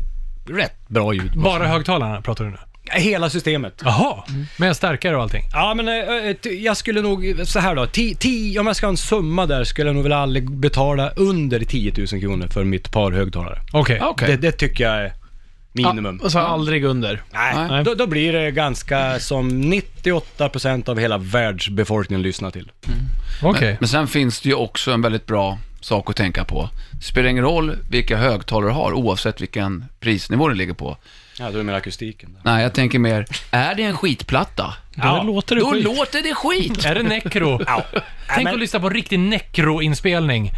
[SPEAKER 5] rätt bra ljud.
[SPEAKER 4] Bara högtalarna pratar du nu?
[SPEAKER 5] Hela systemet.
[SPEAKER 4] Jaha, med stärkare och allting?
[SPEAKER 5] Ja men eh, eh, t- jag skulle nog, så här då, ti, ti, om jag ska ha en summa där skulle jag nog väl aldrig betala under 10 000 kronor för mitt par högtalare.
[SPEAKER 4] Okej.
[SPEAKER 3] Okej.
[SPEAKER 5] Det, det tycker jag är minimum.
[SPEAKER 2] Och så aldrig under.
[SPEAKER 5] nej,
[SPEAKER 2] nej.
[SPEAKER 5] Då, då blir det ganska som 98% av hela världsbefolkningen lyssnar till.
[SPEAKER 4] Okej.
[SPEAKER 3] Men sen finns det ju också en väldigt bra sak att tänka på. Det spelar ingen roll vilka högtalare du har, oavsett vilken prisnivå det ligger på.
[SPEAKER 5] Ja, då är med akustiken. Där.
[SPEAKER 3] Nej, jag tänker mer, är det en skitplatta?
[SPEAKER 2] Då låter det
[SPEAKER 3] Då
[SPEAKER 2] skit.
[SPEAKER 3] låter det skit!
[SPEAKER 4] Är det necro? Tänk
[SPEAKER 5] men-
[SPEAKER 4] att lyssna på en riktig necro-inspelning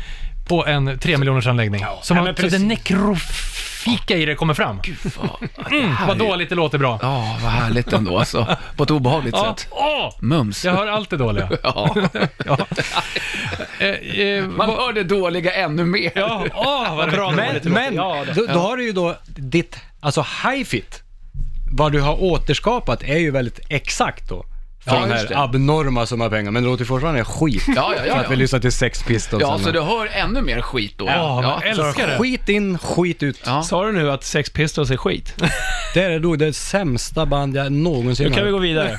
[SPEAKER 4] på en 3 miljoners anläggning. Som
[SPEAKER 5] Ja,
[SPEAKER 4] man,
[SPEAKER 5] men
[SPEAKER 4] så det
[SPEAKER 5] precis.
[SPEAKER 4] necrofika i det kommer fram.
[SPEAKER 3] Fan,
[SPEAKER 4] Mm, vad dåligt det låter bra.
[SPEAKER 3] Ja, vad härligt ändå alltså. På ett obehagligt
[SPEAKER 4] Ja.
[SPEAKER 3] sätt.
[SPEAKER 4] Åh!
[SPEAKER 3] Mums.
[SPEAKER 4] Jag hör allt det dåliga.
[SPEAKER 3] Ja.
[SPEAKER 4] Eh, eh,
[SPEAKER 3] Man hör det dåliga ännu mer.
[SPEAKER 4] ja, åh, vad bra. dåligt det låter.
[SPEAKER 5] Men, men
[SPEAKER 4] Ja, det-
[SPEAKER 5] då, då har du ju då ditt, alltså hi-fit, vad du har återskapat är ju väldigt exakt då. För
[SPEAKER 3] Ja,
[SPEAKER 5] den
[SPEAKER 3] just
[SPEAKER 5] här
[SPEAKER 3] det.
[SPEAKER 5] abnorma summa pengar, men det låter fortfarande skit.
[SPEAKER 3] Ja, ja, ja,
[SPEAKER 5] För att vi
[SPEAKER 3] ja.
[SPEAKER 5] lyssnar till Sex Pistols.
[SPEAKER 3] Ja,
[SPEAKER 5] eller
[SPEAKER 3] så du hör ännu mer skit då.
[SPEAKER 4] Ja,
[SPEAKER 3] ja.
[SPEAKER 4] men älskar det.
[SPEAKER 5] Skit in, skit ut.
[SPEAKER 3] Ja.
[SPEAKER 2] Sa du nu att Sex Pistols är skit?
[SPEAKER 5] Det är nog det sämsta band jag någonsin
[SPEAKER 2] Då kan vi
[SPEAKER 5] hört.
[SPEAKER 2] gå vidare.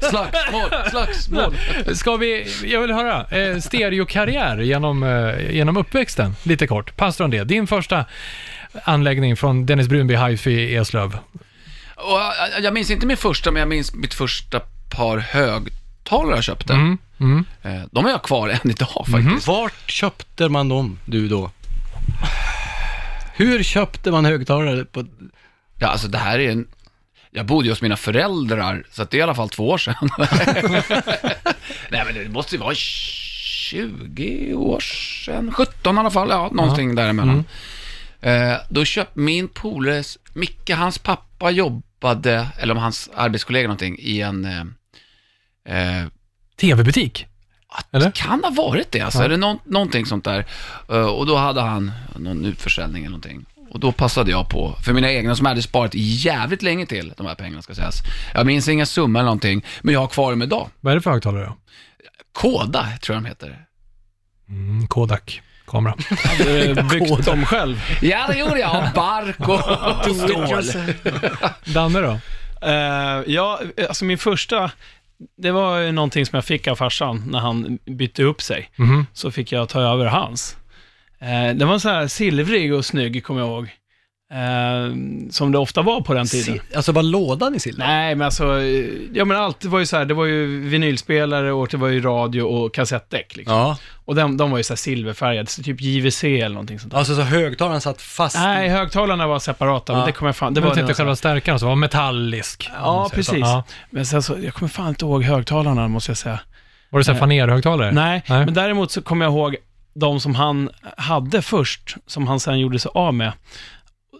[SPEAKER 3] Slagsmål, slagsmål.
[SPEAKER 4] Ska vi, jag vill höra, eh, stereokarriär genom, eh, genom uppväxten, lite kort. Pastor om det, din första anläggning från Dennis Brunby Hifi i Eslöv.
[SPEAKER 3] Och äh, jag, jag minns inte min första, men jag minns mitt första par högtalare jag köpte.
[SPEAKER 4] Mm, mm. Mhm.
[SPEAKER 3] Eh, De har jag kvar än idag faktiskt.
[SPEAKER 5] Vart köpte man dem, du då? Hur köpte man högtalare? På...
[SPEAKER 3] Ja, alltså det här är en... Jag bodde ju hos mina föräldrar, så att det är i alla fall två år sedan. Nej, men det måste ju vara 20 år sedan, 17 i alla fall, ja, någonting däremellan.
[SPEAKER 4] Mm.
[SPEAKER 3] Eh, då köpte min polares, Micke, hans pappa jobbade, eller om hans arbetskollega någonting, i en... Eh, eh,
[SPEAKER 4] TV-butik. Eller?
[SPEAKER 3] det kan ha varit det, alltså.
[SPEAKER 4] Ja.
[SPEAKER 3] Eller någon, någonting sånt där. Eh, och då hade han någon utförsäljning eller någonting. Och då passade jag på, för mina egna som hade sparat jävligt länge till de här pengarna ska sägas. Jag minns inga summor eller någonting, men jag har kvar dem idag.
[SPEAKER 4] Vad är det för högtalare då?
[SPEAKER 3] Koda tror jag de heter.
[SPEAKER 4] Mm, Kodak-kamera.
[SPEAKER 2] Hade du byggt dem själv?
[SPEAKER 3] Ja, det gjorde jag. Av Bark och stål.
[SPEAKER 4] Danne då?
[SPEAKER 2] Eh, ja, alltså min första, det var ju någonting som jag fick av farsan när han bytte upp sig.
[SPEAKER 4] Mhm.
[SPEAKER 2] Så fick jag ta över hans. Eh, den var så här silvrig och snygg, kommer jag ihåg. Eh, som det ofta var på den tiden.
[SPEAKER 5] Alltså var lådan i silver?
[SPEAKER 2] Nej, men alltså, eh, ja men allt var ju så här, det var ju vinylspelare och det var ju radio och kassettdäck liksom.
[SPEAKER 5] Ja.
[SPEAKER 2] Och de, de var ju så här silverfärgade, så typ JVC eller någonting sånt där.
[SPEAKER 5] Alltså så högtalaren satt fast?
[SPEAKER 2] Nej, högtalarna var separata, men
[SPEAKER 5] Ja.
[SPEAKER 2] det kommer jag fan... Det
[SPEAKER 4] Det var
[SPEAKER 2] var
[SPEAKER 4] jag tänkte
[SPEAKER 2] någon-
[SPEAKER 4] själva stärkaren som var metallisk. om man
[SPEAKER 2] Ja,
[SPEAKER 4] säger så.
[SPEAKER 2] precis.
[SPEAKER 4] Ja.
[SPEAKER 2] Men sen så, jag kommer fan inte ihåg högtalarna, måste jag säga.
[SPEAKER 4] Var det så här fanerhögtalare?
[SPEAKER 2] Nej,
[SPEAKER 4] Nej.
[SPEAKER 2] men däremot så kommer jag ihåg de som han hade först, som han sen gjorde sig av med.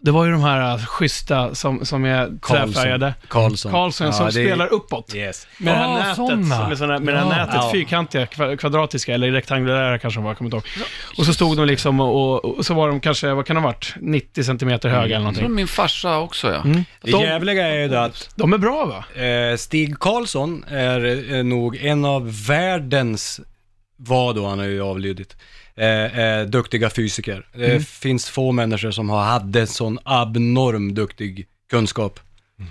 [SPEAKER 2] Det var ju de här äh, schyssta som, som är
[SPEAKER 5] Karlsson.
[SPEAKER 2] träfärgade.
[SPEAKER 5] Karlsson.
[SPEAKER 2] Karlsson som
[SPEAKER 5] Ja, det-
[SPEAKER 2] spelar uppåt.
[SPEAKER 5] Yes.
[SPEAKER 2] Med det här
[SPEAKER 4] Ah,
[SPEAKER 2] nätet,
[SPEAKER 4] såna.
[SPEAKER 2] som är såna, med det här
[SPEAKER 4] Ja.
[SPEAKER 2] nätet
[SPEAKER 5] Ja.
[SPEAKER 2] fyrkantiga, kva- kvadratiska eller rektangulära kanske de var, jag kommer inte ihåg. Och så stod de liksom och, och så var de kanske, vad kan de ha varit, 90 centimeter höga eller
[SPEAKER 3] Jag tror
[SPEAKER 4] Mm.
[SPEAKER 2] någonting.
[SPEAKER 3] min farsa också ja.
[SPEAKER 5] Det
[SPEAKER 2] De-
[SPEAKER 5] jävliga är ju det att
[SPEAKER 2] De är bra va?
[SPEAKER 5] Eh, Stig Karlsson är eh, nog en av världens, vad då han har ju avlidit, eh, eh, duktiga fysiker. Det
[SPEAKER 2] Mm.
[SPEAKER 5] finns få människor som har hade sån abnorm duktig kunskap.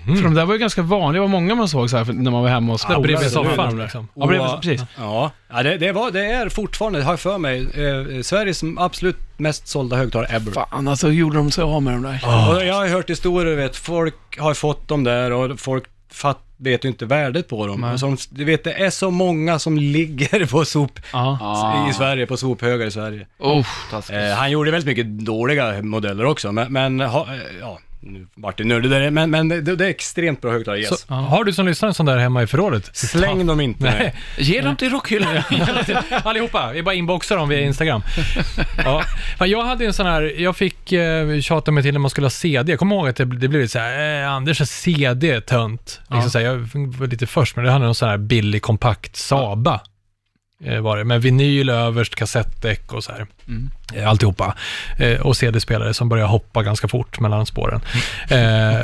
[SPEAKER 4] Mm.
[SPEAKER 2] För de där var ju ganska vanliga, det var många man såg så här för- när man var hemma och spolade.
[SPEAKER 4] bredvid
[SPEAKER 2] Så var
[SPEAKER 4] soffan,
[SPEAKER 2] de där.
[SPEAKER 4] liksom.
[SPEAKER 2] Ja, bredvid,
[SPEAKER 5] Och-
[SPEAKER 2] precis.
[SPEAKER 5] Ja, ja det, det, var, det är fortfarande, har jag för mig, eh, Sveriges absolut mest sålda högtalare ever.
[SPEAKER 2] Fan alltså, hur gjorde de sig av med de där?
[SPEAKER 5] Och jag har ju hört historier, vet, folk har fått dem där och folk fatt, vet ju inte värdet på dem.
[SPEAKER 2] Nej.
[SPEAKER 5] Alltså, de- du vet, det är så många som ligger på sop,
[SPEAKER 2] Ja.
[SPEAKER 5] i Sverige, på sophögar i Sverige.
[SPEAKER 3] Usch, taskigt.
[SPEAKER 5] Eh, han gjorde väldigt mycket dåliga modeller också, men, men ha, eh, ja, nu vart det nördigt där, men, men det, det är extremt bra högtalare, yes.
[SPEAKER 4] Så, Har du som lyssnar en sån där hemma i förrådet?
[SPEAKER 5] Släng dem inte.
[SPEAKER 4] Nej.
[SPEAKER 3] Ge dem till rockhyllan.
[SPEAKER 4] Allihopa, vi bara inboxar dem via Instagram. Ja. Fan, Jag hade en sån här, jag fick eh, tjata mig till när man skulle ha CD. Jag kommer ihåg att det, det blev lite så här, eh, Anders har CD är tönt. Liksom så här, jag var lite först, men det hade någon sån här billig kompakt Saba. Eh, var det, med vinyl överst, kassettdäck och så här. Eh, Alltihopa. Eh, och CD-spelare som börjar hoppa ganska fort mellan spåren. Eh,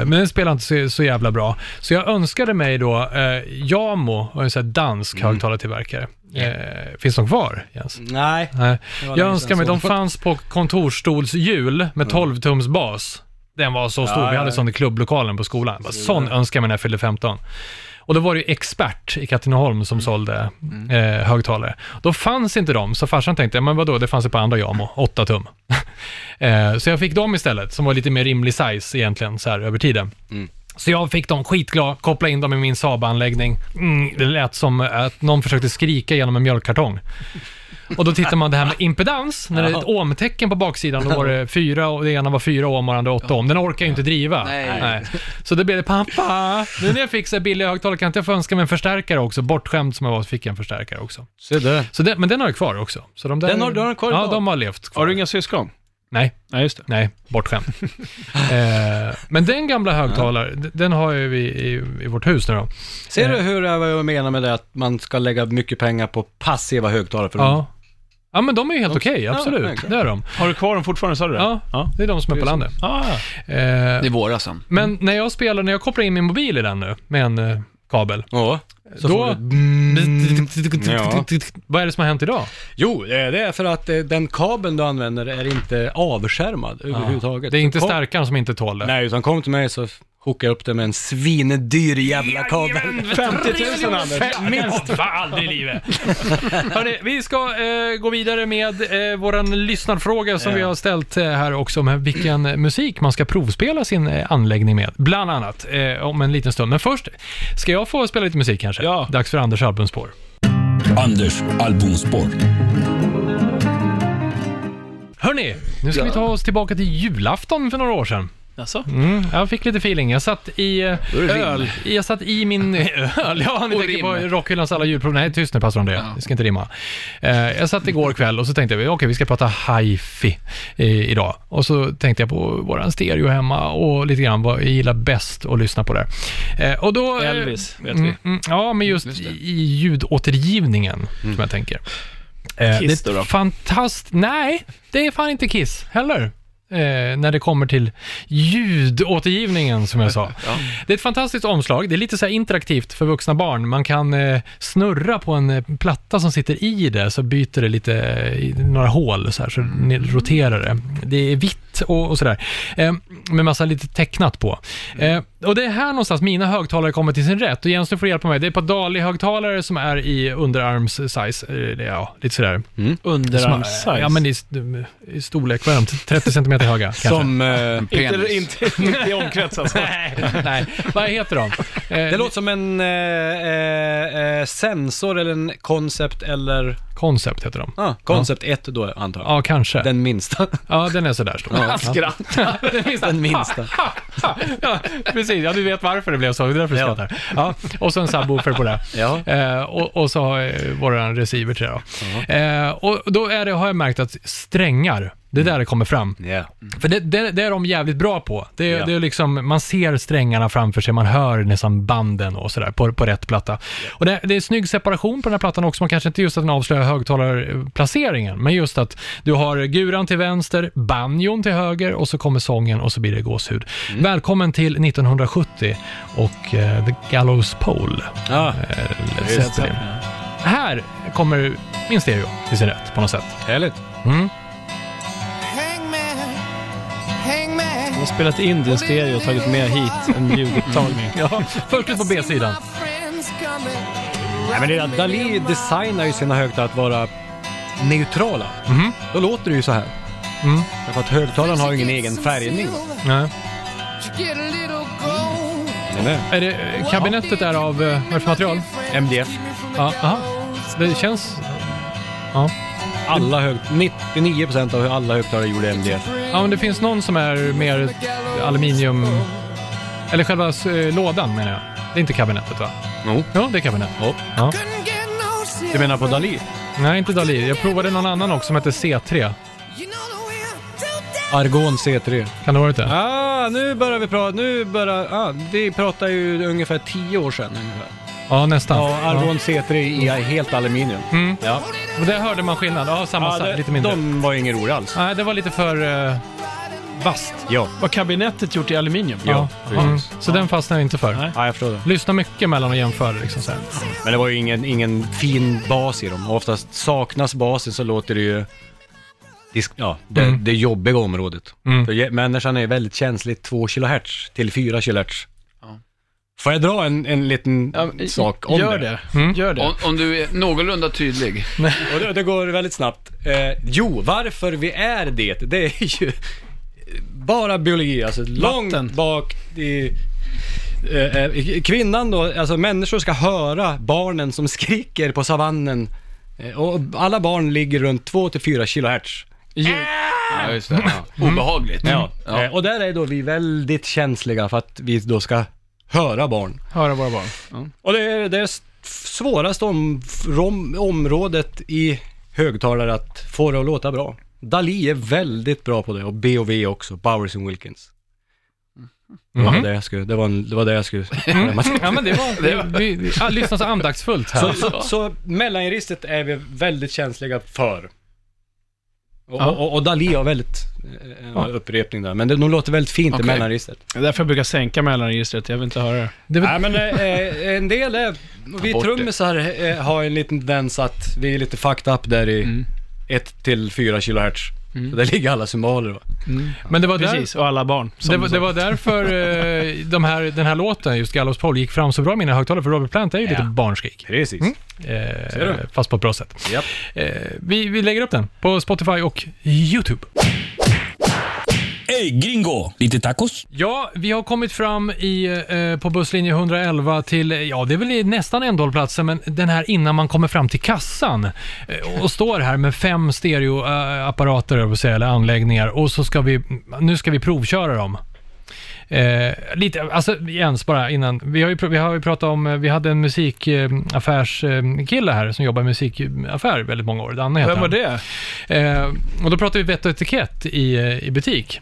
[SPEAKER 4] men den spelar inte så, så jävla bra. Så jag önskade mig då, eh, Jamo, var en sån här dansk högtalartillverkare. Eh, finns de kvar, Jens?
[SPEAKER 5] Nej.
[SPEAKER 4] Nej.
[SPEAKER 5] det var
[SPEAKER 4] Jag
[SPEAKER 5] länge
[SPEAKER 4] önskar
[SPEAKER 5] sedan
[SPEAKER 4] mig,
[SPEAKER 5] så.
[SPEAKER 4] de fanns på kontorsstolshjul med 12-tums bas. Den var så stor,
[SPEAKER 5] Ja,
[SPEAKER 4] vi
[SPEAKER 5] ja,
[SPEAKER 4] hade
[SPEAKER 5] ja.
[SPEAKER 4] sån i klubblokalen på skolan. Bara, sån önskar jag mig när jag fyllde 15. Och då var det ju expert i Katrineholm
[SPEAKER 5] Mm.
[SPEAKER 4] som sålde eh, högtalare. Då fanns inte de, så farsan tänkte, men vadå, det fanns ett par andra Jamo, 8 tum. eh, så jag fick dem istället, som var lite mer rimlig size egentligen, så här över tiden.
[SPEAKER 5] Mm.
[SPEAKER 4] Så jag fick dem skitglad, kopplade in dem i min Saab-anläggning. Mm, det lät som att någon försökte skrika genom en mjölkkartong. Och då tittar man det här med impedans, när det är ett ohmtecken på baksidan, då var det fyra och det ena var fyra ohm och det andra åtta ohm. Den orkar ju inte driva.
[SPEAKER 3] Nej.
[SPEAKER 4] Så det blev det pappa, nu när jag fick så här billiga högtalare kan inte jag få önska mig en förstärkare också. Bortskämd som jag var så fick jag en förstärkare också.
[SPEAKER 5] Se där.
[SPEAKER 4] Så det, men den har jag kvar också. Så de där,
[SPEAKER 5] Den har- den har du kvar
[SPEAKER 4] Ja,
[SPEAKER 5] idag?
[SPEAKER 4] de har levt kvar.
[SPEAKER 2] Har du inga syskon?
[SPEAKER 4] Nej.
[SPEAKER 2] Nej, just det.
[SPEAKER 4] Nej, bortskämd. eh, men den gamla högtalaren, d- den har ju vi i, i vårt hus nu
[SPEAKER 2] Mm.
[SPEAKER 4] då.
[SPEAKER 5] Ser du hur jag- vad jag menar med det att man ska lägga mycket pengar på passiva högtalare för dem?
[SPEAKER 4] Ja. ja, men de är ju helt okej,
[SPEAKER 5] ja,
[SPEAKER 4] absolut.
[SPEAKER 5] klart.
[SPEAKER 4] det är de.
[SPEAKER 2] Har du kvar dem fortfarande, sa du det?
[SPEAKER 4] Ja,
[SPEAKER 2] ja.
[SPEAKER 4] det är de som är på landet.
[SPEAKER 2] Ah,
[SPEAKER 4] Eh,
[SPEAKER 3] Det är våra sen.
[SPEAKER 4] men när jag spelar, när jag kopplar in min mobil i den nu med en eh, kabel,
[SPEAKER 5] Ja.
[SPEAKER 4] så då...
[SPEAKER 2] Mm.
[SPEAKER 5] Ja.
[SPEAKER 4] Vad är det som har hänt idag?
[SPEAKER 5] Jo, eh, det är för att eh, den kabeln du använder är inte avskärmad överhuvudtaget.
[SPEAKER 4] Det är inte
[SPEAKER 5] Så kom-
[SPEAKER 4] stärkaren som inte tål det.
[SPEAKER 5] Nej, utan kom till mig så hookar jag upp det med en svindyr jävla kabel.
[SPEAKER 2] 50 000 Anders.
[SPEAKER 4] Minst! Fan, aldrig i livet. Hörrni, vi ska eh, gå vidare med eh, våran lyssnarfråga som vi har ställt eh, här också om vilken eh, musik man ska provspela sin eh, anläggning med. Bland annat, eh, om en liten stund. Men först, ska jag få spela lite musik kanske?
[SPEAKER 2] Ja.
[SPEAKER 4] Dags för Anders albumspår.
[SPEAKER 1] Anders albumspår.
[SPEAKER 4] Hörni, nu ska vi ta oss tillbaka till julafton för några år sedan.
[SPEAKER 2] Jaså?
[SPEAKER 4] Mm, jag fick lite feeling. Jag satt i eh, öl. Jag satt i min öl. Ja, ni
[SPEAKER 3] Och
[SPEAKER 4] tänker
[SPEAKER 3] rim.
[SPEAKER 4] på Rockhyllans alla julprov. Nej, tyst nu pastor om det. Det ska inte rimma. Eh, jag satt igår kväll och så tänkte jag, okej, vi ska prata hi-fi eh, idag. Och så tänkte jag på våran stereo hemma och lite grann vad jag gillar bäst att lyssna på där. Eh, och då... eh,
[SPEAKER 2] Elvis, vet
[SPEAKER 4] Mm,
[SPEAKER 2] vi.
[SPEAKER 4] mm, ja, men just, i i ljudåtergivningen, som jag tänker. Eh,
[SPEAKER 2] Mm. Kiss
[SPEAKER 4] det är
[SPEAKER 2] då då?
[SPEAKER 4] Fantast... Nej, det är fan inte Kiss heller. eh, när det kommer till ljudåtergivningen, som jag sa. Det är ett fantastiskt omslag. Det är lite så här interaktivt för vuxna barn. Man kan eh, snurra på en eh, platta som sitter i det, så byter det lite, eh, i några hål, så, här, så ni- roterar det. Det är vitt och, och sådär, eh, med massa lite tecknat på. Eh, och det är här någonstans mina högtalare kommer till sin rätt. Och Jens, du får hjälpa mig. Det är ett par Dali-högtalare som är i underarms-size, eh, det- ja, lite sådär.
[SPEAKER 2] Underarmssize.
[SPEAKER 4] Ja, men i, i storlek, vad är de? 30 centimeter höga kanske?
[SPEAKER 5] Som... Eh,
[SPEAKER 3] Penis.
[SPEAKER 2] inte, inte, inte i omkrets alltså.
[SPEAKER 4] Nej, vad heter de? Eh,
[SPEAKER 5] det låter som en eh, eh, eh, sensor eller en koncept eller...
[SPEAKER 4] Concept heter de.
[SPEAKER 5] Ah, koncept 1 då antar jag.
[SPEAKER 4] Ja, kanske.
[SPEAKER 5] Den minsta.
[SPEAKER 4] Ja, den är sådär stor. Ja.
[SPEAKER 5] Den minsta.
[SPEAKER 4] ja, precis. Ja, du vet varför det blev så. Det är därför du skrattar. Ja. Och så en subwoofer på det.
[SPEAKER 5] Ja.
[SPEAKER 4] Eh, och, och så har jag våran receiver till det då. Eh, och då är det, har jag märkt att strängar, det är där det kommer fram.
[SPEAKER 5] Yeah.
[SPEAKER 4] Mm. För det, det, det är de jävligt bra på. Det,
[SPEAKER 5] Ja.
[SPEAKER 4] det är liksom, man ser strängarna framför sig, man hör nästan banden och sådär på, på rätt platta. Och det, det är snygg separation på den här plattan också, man kanske inte just att den avslöjar högtalarplaceringen, men just att du har guran till vänster, banjon till höger och så kommer sången och så blir det gåshud. Välkommen till 1970 och eh, The Gallows Pole.
[SPEAKER 5] Ah,
[SPEAKER 4] Led Zeppelin. Här kommer min stereo till sin rätt på något sätt.
[SPEAKER 5] härligt.
[SPEAKER 4] Mm.
[SPEAKER 2] De har spelat in din stereo och tagit med hit en ljudupptagning.
[SPEAKER 4] Ja, först ut på B-sidan.
[SPEAKER 5] Nej, men det är, Dali designar ju sina högtalare att vara neutrala.
[SPEAKER 4] Mhm.
[SPEAKER 5] Då låter det ju så här.
[SPEAKER 4] Mm.
[SPEAKER 5] Därför att högtalaren har ju ingen egen färgning.
[SPEAKER 4] Nej.
[SPEAKER 5] Den är-
[SPEAKER 4] Är det, kabinettet är av, eh, vad är det för material?
[SPEAKER 5] MDF.
[SPEAKER 4] Ja, aha. Det känns...
[SPEAKER 5] Alla hög, 99% av alla högtalare gjorde MDF.
[SPEAKER 4] Ja, men det finns någon som är mer aluminium... Eller själva eh, lådan menar jag. Det är inte kabinettet va?
[SPEAKER 5] Jo.
[SPEAKER 4] Jo, det är kabinettet.
[SPEAKER 5] Jo.
[SPEAKER 4] Ja.
[SPEAKER 5] Du menar på Dali?
[SPEAKER 4] Nej, inte Dali. Jag provade någon annan också som hette C3.
[SPEAKER 5] Argon C3.
[SPEAKER 4] Kan det ha varit det?
[SPEAKER 5] Ah, nu börjar vi prata, nu börjar, ah, vi pratar ju ungefär 10 år sedan ungefär.
[SPEAKER 4] Ja, nästan.
[SPEAKER 5] Ja, Argon C3 i helt aluminium. Alltså,
[SPEAKER 4] Mm.
[SPEAKER 5] Ja,
[SPEAKER 4] Och där hörde man skillnad. Ja, samma
[SPEAKER 5] ja
[SPEAKER 4] sak.
[SPEAKER 5] det,
[SPEAKER 4] Lite mindre.
[SPEAKER 5] de var ju ingen roliga alls.
[SPEAKER 4] Nej, det var lite för eh, vasst.
[SPEAKER 5] Ja,
[SPEAKER 2] Var kabinettet gjort i aluminium?
[SPEAKER 5] ja,
[SPEAKER 4] Ja. Mm.
[SPEAKER 5] precis.
[SPEAKER 4] Så den fastnar jag inte för.
[SPEAKER 2] Nej.
[SPEAKER 5] Ja, jag förstår det.
[SPEAKER 4] Lyssna mycket mellan och jämför. Liksom, så här.
[SPEAKER 5] Men det var ju ingen, ingen fin bas i dem. Och Oftast saknas basen så låter det ju disk, ja, det,
[SPEAKER 4] Mm.
[SPEAKER 5] det jobbiga området.
[SPEAKER 4] Mm.
[SPEAKER 5] För ge- människan är väldigt känslig 2 kHz till 4 kHz.
[SPEAKER 3] Ja.
[SPEAKER 5] Får jag dra en, en liten
[SPEAKER 2] Ja, i-
[SPEAKER 5] sak om
[SPEAKER 2] gör
[SPEAKER 5] det?
[SPEAKER 2] det.
[SPEAKER 4] Mm.
[SPEAKER 2] Gör det.
[SPEAKER 3] Om, om du är någorlunda tydlig.
[SPEAKER 5] Och det, det går väldigt snabbt. Eh, jo, varför vi är det, det är ju bara biologi. Alltså långt bak i... eh, eh, Kvinnan då, alltså människor ska höra barnen som skriker på savannen. Eh, Och alla barn ligger runt 2-4 kHz.
[SPEAKER 3] Ja, just det. Obehagligt.
[SPEAKER 5] Ja.
[SPEAKER 3] Ja.
[SPEAKER 5] Eh, Och där är då vi väldigt känsliga för att vi då ska höra barn.
[SPEAKER 2] Höra våra barn.
[SPEAKER 5] Och det är det s- svåraste om, rom, området i högtalare att få det att låta bra. Dali är väldigt bra på det och B&V också, Bowers and Wilkins. Det var
[SPEAKER 4] Mhm.
[SPEAKER 5] det jag skulle, det var, en, det var det jag skulle
[SPEAKER 4] Mm. Ja, men det var... Det, vi, vi, ah, lyssna så andaktsfullt här.
[SPEAKER 5] så, så, så mellanregistret är vi väldigt känsliga för. Och,
[SPEAKER 4] Ja.
[SPEAKER 5] och, och Dali har väldigt, eh, en
[SPEAKER 4] Ja.
[SPEAKER 5] upprepning där, men det, de låter väldigt fint
[SPEAKER 3] Okej.
[SPEAKER 5] i mellanregistret.
[SPEAKER 2] Det är därför jag brukar sänka mellanregistret. Jag vill inte höra det.
[SPEAKER 4] det, är väl-
[SPEAKER 5] Nej men eh, en del är, vi
[SPEAKER 3] bort det.
[SPEAKER 5] trummisar eh, har en liten tendens att vi är lite fucked up där i
[SPEAKER 4] Mm.
[SPEAKER 5] 1 till 4 kHz. Så där ligger alla symboler va.
[SPEAKER 4] men det var där...
[SPEAKER 2] Precis, och alla barn. som
[SPEAKER 4] Det var,
[SPEAKER 2] du sa.
[SPEAKER 4] det var därför eh, de här, den här låten, just Gallows Pole, gick fram så bra i mina högtalare, för Robert Plant är ju lite barnskrik.
[SPEAKER 5] Precis.
[SPEAKER 4] Eh,
[SPEAKER 5] du?
[SPEAKER 4] fast på ett bra sätt.
[SPEAKER 5] Japp.
[SPEAKER 4] Eh, vi, vi lägger upp den på Spotify och YouTube.
[SPEAKER 1] Ey gringo, lite tacos?
[SPEAKER 4] Ja, vi har kommit fram i, eh, på busslinje 111 till, eh, ja det är väl i nästan ändhållplatsen, men den här innan man kommer fram till kassan eh, och står här med fem stereoapparater, höll jag på att säga, eller anläggningar och så ska vi, nu ska vi provköra dem. Eh, lite, alltså Jens bara innan, vi har ju, pr- vi har ju pratat om, eh, vi hade en musikaffärskille här som jobbar i musikaffär väldigt många år, Danne heter
[SPEAKER 2] Vem var
[SPEAKER 4] han.
[SPEAKER 2] det?
[SPEAKER 4] Eh, och då pratar vi vett och etikett i, eh, i butik.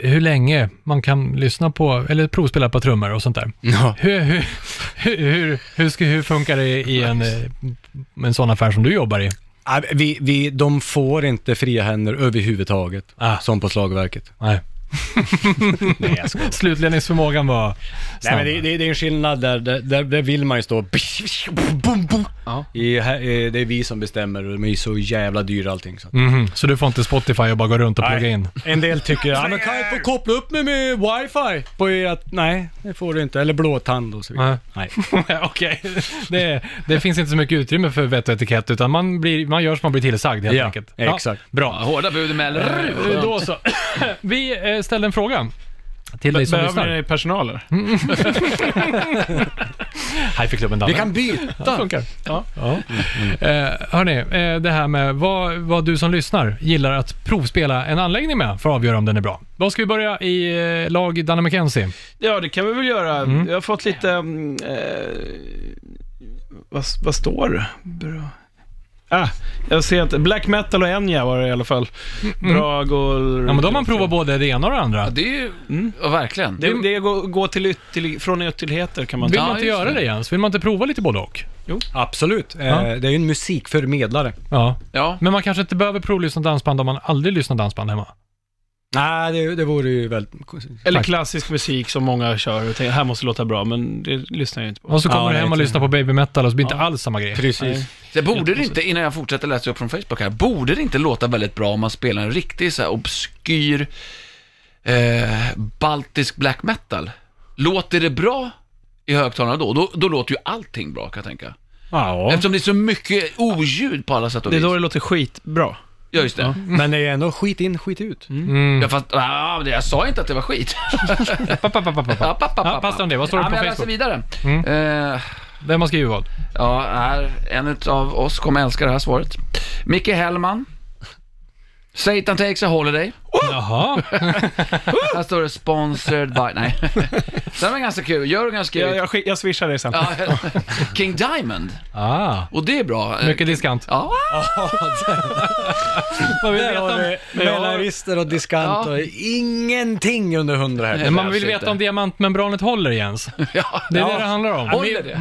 [SPEAKER 4] Hur länge man kan lyssna på, eller provspela på trummor och sånt där.
[SPEAKER 5] Ja.
[SPEAKER 4] Hur, hur, hur, hur, hur, ska- hur funkar det i en, eh, en sån affär som du jobbar i?
[SPEAKER 5] Nej, Äh, Vi, vi, de får inte fria händer överhuvudtaget,
[SPEAKER 4] Ah.
[SPEAKER 5] som på slagverket.
[SPEAKER 4] Nej. Slutledningsförmågan var
[SPEAKER 5] Nej,
[SPEAKER 4] snabb.
[SPEAKER 5] men det, det, det är en skillnad där, där, där, där vill man ju stå bum, bum.
[SPEAKER 3] Ja.
[SPEAKER 5] I, här, eh, det är vi som bestämmer och de är ju så jävla dyra allting. Så. att-
[SPEAKER 4] Mhm, Så du får inte Spotify och bara gå runt och plugga in?
[SPEAKER 5] En del tycker ja, men kan jag få koppla upp mig med wifi? På ert... Nej, det får du inte. Eller blåtand och så vidare.
[SPEAKER 4] Nej.
[SPEAKER 5] Nej.
[SPEAKER 4] Okej. Det, det finns inte så mycket utrymme för vett och etikett, utan man, blir, man gör som man blir tillsagd helt
[SPEAKER 5] Ja,
[SPEAKER 4] enkelt.
[SPEAKER 5] exakt.
[SPEAKER 4] Bra.
[SPEAKER 3] Ja, hårda bud emellan.
[SPEAKER 4] Eh, Då så. Vi eh, ställde en fråga till dig som
[SPEAKER 2] Behöver
[SPEAKER 4] lyssnar. Mm.
[SPEAKER 2] ni personaler?
[SPEAKER 4] Hej för klubben Danne.
[SPEAKER 5] Vi kan byta.
[SPEAKER 4] Det funkar. Ja. Eh, hörni, eh, det här med vad, vad du som lyssnar gillar att provspela en anläggning med för att avgöra om den är bra. Vad ska vi börja i eh, lag Danne McKenzie?
[SPEAKER 2] Ja, det kan vi väl göra. Jag har fått lite... mm, Eh, vad, vad står det? Bra. Ah, jag ser att Black Metal och Enya var det i alla fall. Brag och...
[SPEAKER 4] Mm. Ja, men då har man provat både det ena och det andra.
[SPEAKER 3] Ja, det är ju... Ja, verkligen.
[SPEAKER 2] Det, det går, går till ytterlig, från ytterligheter kan man
[SPEAKER 4] Vill
[SPEAKER 2] säga.
[SPEAKER 4] man
[SPEAKER 3] Ja,
[SPEAKER 4] inte
[SPEAKER 3] just
[SPEAKER 4] göra
[SPEAKER 3] det.
[SPEAKER 4] det Jens? Vill man inte prova lite både och?
[SPEAKER 5] Absolut.
[SPEAKER 4] Ja.
[SPEAKER 5] Eh, det är ju en musikförmedlare.
[SPEAKER 4] Ja.
[SPEAKER 3] Ja.
[SPEAKER 4] Men man kanske inte behöver provlyssna dansband om man aldrig lyssnar dansband hemma.
[SPEAKER 5] Nej, det, det vore ju väldigt...
[SPEAKER 2] Eller klassisk musik som många kör och tänker, här måste det låta bra, men det lyssnar jag inte på.
[SPEAKER 4] Och så kommer
[SPEAKER 5] Ja,
[SPEAKER 4] du
[SPEAKER 5] det
[SPEAKER 4] hem
[SPEAKER 5] är
[SPEAKER 4] och
[SPEAKER 5] inte-
[SPEAKER 4] lyssnar på baby metal och så blir det inte alls samma grej.
[SPEAKER 5] Precis.
[SPEAKER 3] Det borde det inte, innan jag fortsätter läsa upp från Facebook här, borde det inte låta väldigt bra om man spelar en riktig så här obskyr eh, baltisk black metal? Låter det bra i högtalarna då? då? Då låter ju allting bra kan jag tänka.
[SPEAKER 5] Ja.
[SPEAKER 3] Eftersom det är så mycket oljud på alla sätt och
[SPEAKER 2] Det är
[SPEAKER 3] vis.
[SPEAKER 2] då det låter skitbra.
[SPEAKER 3] Ja, just det.
[SPEAKER 5] Men det är ändå skit in, skit ut.
[SPEAKER 4] Mm.
[SPEAKER 3] Ja, fast, ah, det- jag sa inte att det var skit.
[SPEAKER 4] Pa, pa, pa, pa, pa,
[SPEAKER 3] Ja,
[SPEAKER 4] pa.
[SPEAKER 3] papp, papp,
[SPEAKER 4] Ja,
[SPEAKER 3] papp.
[SPEAKER 4] passa om det. Vad står det
[SPEAKER 3] ja,
[SPEAKER 4] på
[SPEAKER 3] men alltså jag läser
[SPEAKER 4] Facebook?
[SPEAKER 3] vidare.
[SPEAKER 4] Mm.
[SPEAKER 3] Eh,
[SPEAKER 4] Vem har skrivit vad?
[SPEAKER 3] ja, här, en av oss kommer älska det här svaret. Micke Hellman. Satan takes a holiday.
[SPEAKER 4] Jaha.
[SPEAKER 3] Här står det sponsored by... Nej. Den var ganska kul. Jörgen har skrivit...
[SPEAKER 2] Jag, jag, skick- jag swishar dig sen.
[SPEAKER 3] Ja, King Diamond.
[SPEAKER 4] Ah.
[SPEAKER 3] Och det är bra.
[SPEAKER 4] Mycket diskant.
[SPEAKER 3] Ja,
[SPEAKER 4] Man vill veta om,
[SPEAKER 5] Mellanrister och diskant
[SPEAKER 3] Ja.
[SPEAKER 5] och ingenting under 100 här.
[SPEAKER 3] Ja.
[SPEAKER 4] Eh, man vill veta om diamantmembranet håller Jens.
[SPEAKER 3] ja.
[SPEAKER 4] Det är
[SPEAKER 5] Ja.
[SPEAKER 4] det det handlar om.
[SPEAKER 3] Håller det?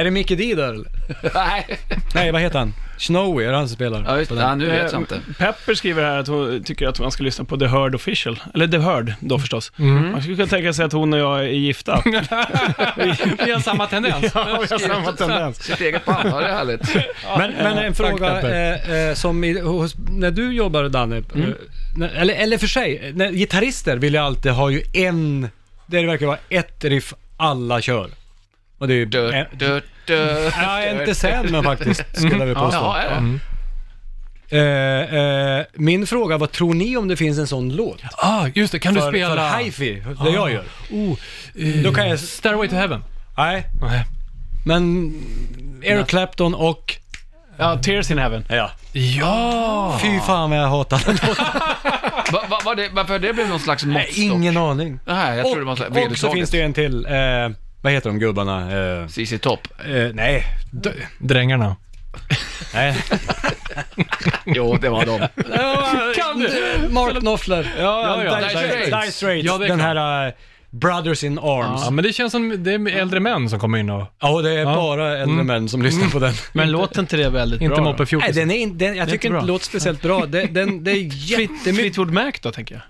[SPEAKER 5] Är det Mickey D där eller?
[SPEAKER 3] Nej.
[SPEAKER 5] Nej, vad heter han? Snowy, är det han som spelar?
[SPEAKER 3] Ja, just det. Ja, nu vet jag inte.
[SPEAKER 2] Pepper skriver här att hon tycker att man ska lyssna på The Heard Official. Eller The Heard då förstås.
[SPEAKER 4] Mm.
[SPEAKER 2] Man skulle kunna tänka sig att hon och jag är gifta.
[SPEAKER 4] Vi har samma tendens.
[SPEAKER 5] Samma tendens.
[SPEAKER 3] Sitt eget band, ja, det är härligt.
[SPEAKER 5] Men, men en fråga
[SPEAKER 4] Pepper.
[SPEAKER 5] eh, eh, som i, hos, när du jobbade Danne, eh, när- eller, eller för sig, eh, när, gitarrister vill ju alltid ha ju en, det verkar vara ett riff alla kör. Och det är ju...
[SPEAKER 3] Dö, dö, dö. Mm.
[SPEAKER 5] Nej, inte sämre faktiskt, skulle jag vilja påstå. Mm.
[SPEAKER 3] Ja, är det?
[SPEAKER 5] Eh, eh, min fråga var, tror ni om det finns en sån låt?
[SPEAKER 4] Ah, just det. Kan du
[SPEAKER 5] för,
[SPEAKER 4] spela...
[SPEAKER 5] För hifi, det jag gör.
[SPEAKER 4] Oh,
[SPEAKER 5] Då kan jag...
[SPEAKER 4] Stairway to heaven.
[SPEAKER 5] Nej,
[SPEAKER 4] Nej.
[SPEAKER 5] men Eric Clapton och...
[SPEAKER 2] ja, Tears in Heaven.
[SPEAKER 5] Ja.
[SPEAKER 4] Ja!
[SPEAKER 5] Fy fan vad jag hatar den låten.
[SPEAKER 3] Va, va, var det varför det blev någon slags
[SPEAKER 5] Nej,
[SPEAKER 3] måttstock?
[SPEAKER 5] Ingen aning.
[SPEAKER 3] Nej, jag trodde det var
[SPEAKER 5] och,
[SPEAKER 3] så här
[SPEAKER 5] och så finns
[SPEAKER 3] vedertaget.
[SPEAKER 5] det ju en till. Eh, vad heter de gubbarna? Eh,
[SPEAKER 3] CC Topp.
[SPEAKER 5] eh, nej. D-
[SPEAKER 4] Drängarna.
[SPEAKER 5] nej.
[SPEAKER 3] Jo, det var de.
[SPEAKER 4] Kan du?
[SPEAKER 5] Mark Knopfler.
[SPEAKER 4] Ja, ja.
[SPEAKER 3] Dire
[SPEAKER 5] Dire Straits.
[SPEAKER 3] Straits.
[SPEAKER 5] Dire Straits.
[SPEAKER 4] Ja, det är
[SPEAKER 5] den
[SPEAKER 4] klart.
[SPEAKER 5] här eh, Brothers in Arms.
[SPEAKER 4] Ja,
[SPEAKER 5] Ja,
[SPEAKER 4] men det känns som det är äldre män som kommer in och...
[SPEAKER 5] och det är bara äldre män som lyssnar på den.
[SPEAKER 2] Men låter inte det väldigt
[SPEAKER 4] Inte
[SPEAKER 2] bra? då?
[SPEAKER 4] moppe
[SPEAKER 5] Nej,
[SPEAKER 4] 14.
[SPEAKER 5] den är inte, den, jag tycker
[SPEAKER 2] bra.
[SPEAKER 5] inte det låter speciellt bra. Den, den, det är jättemycket...
[SPEAKER 2] Fleetwood Mac då, tänker jag.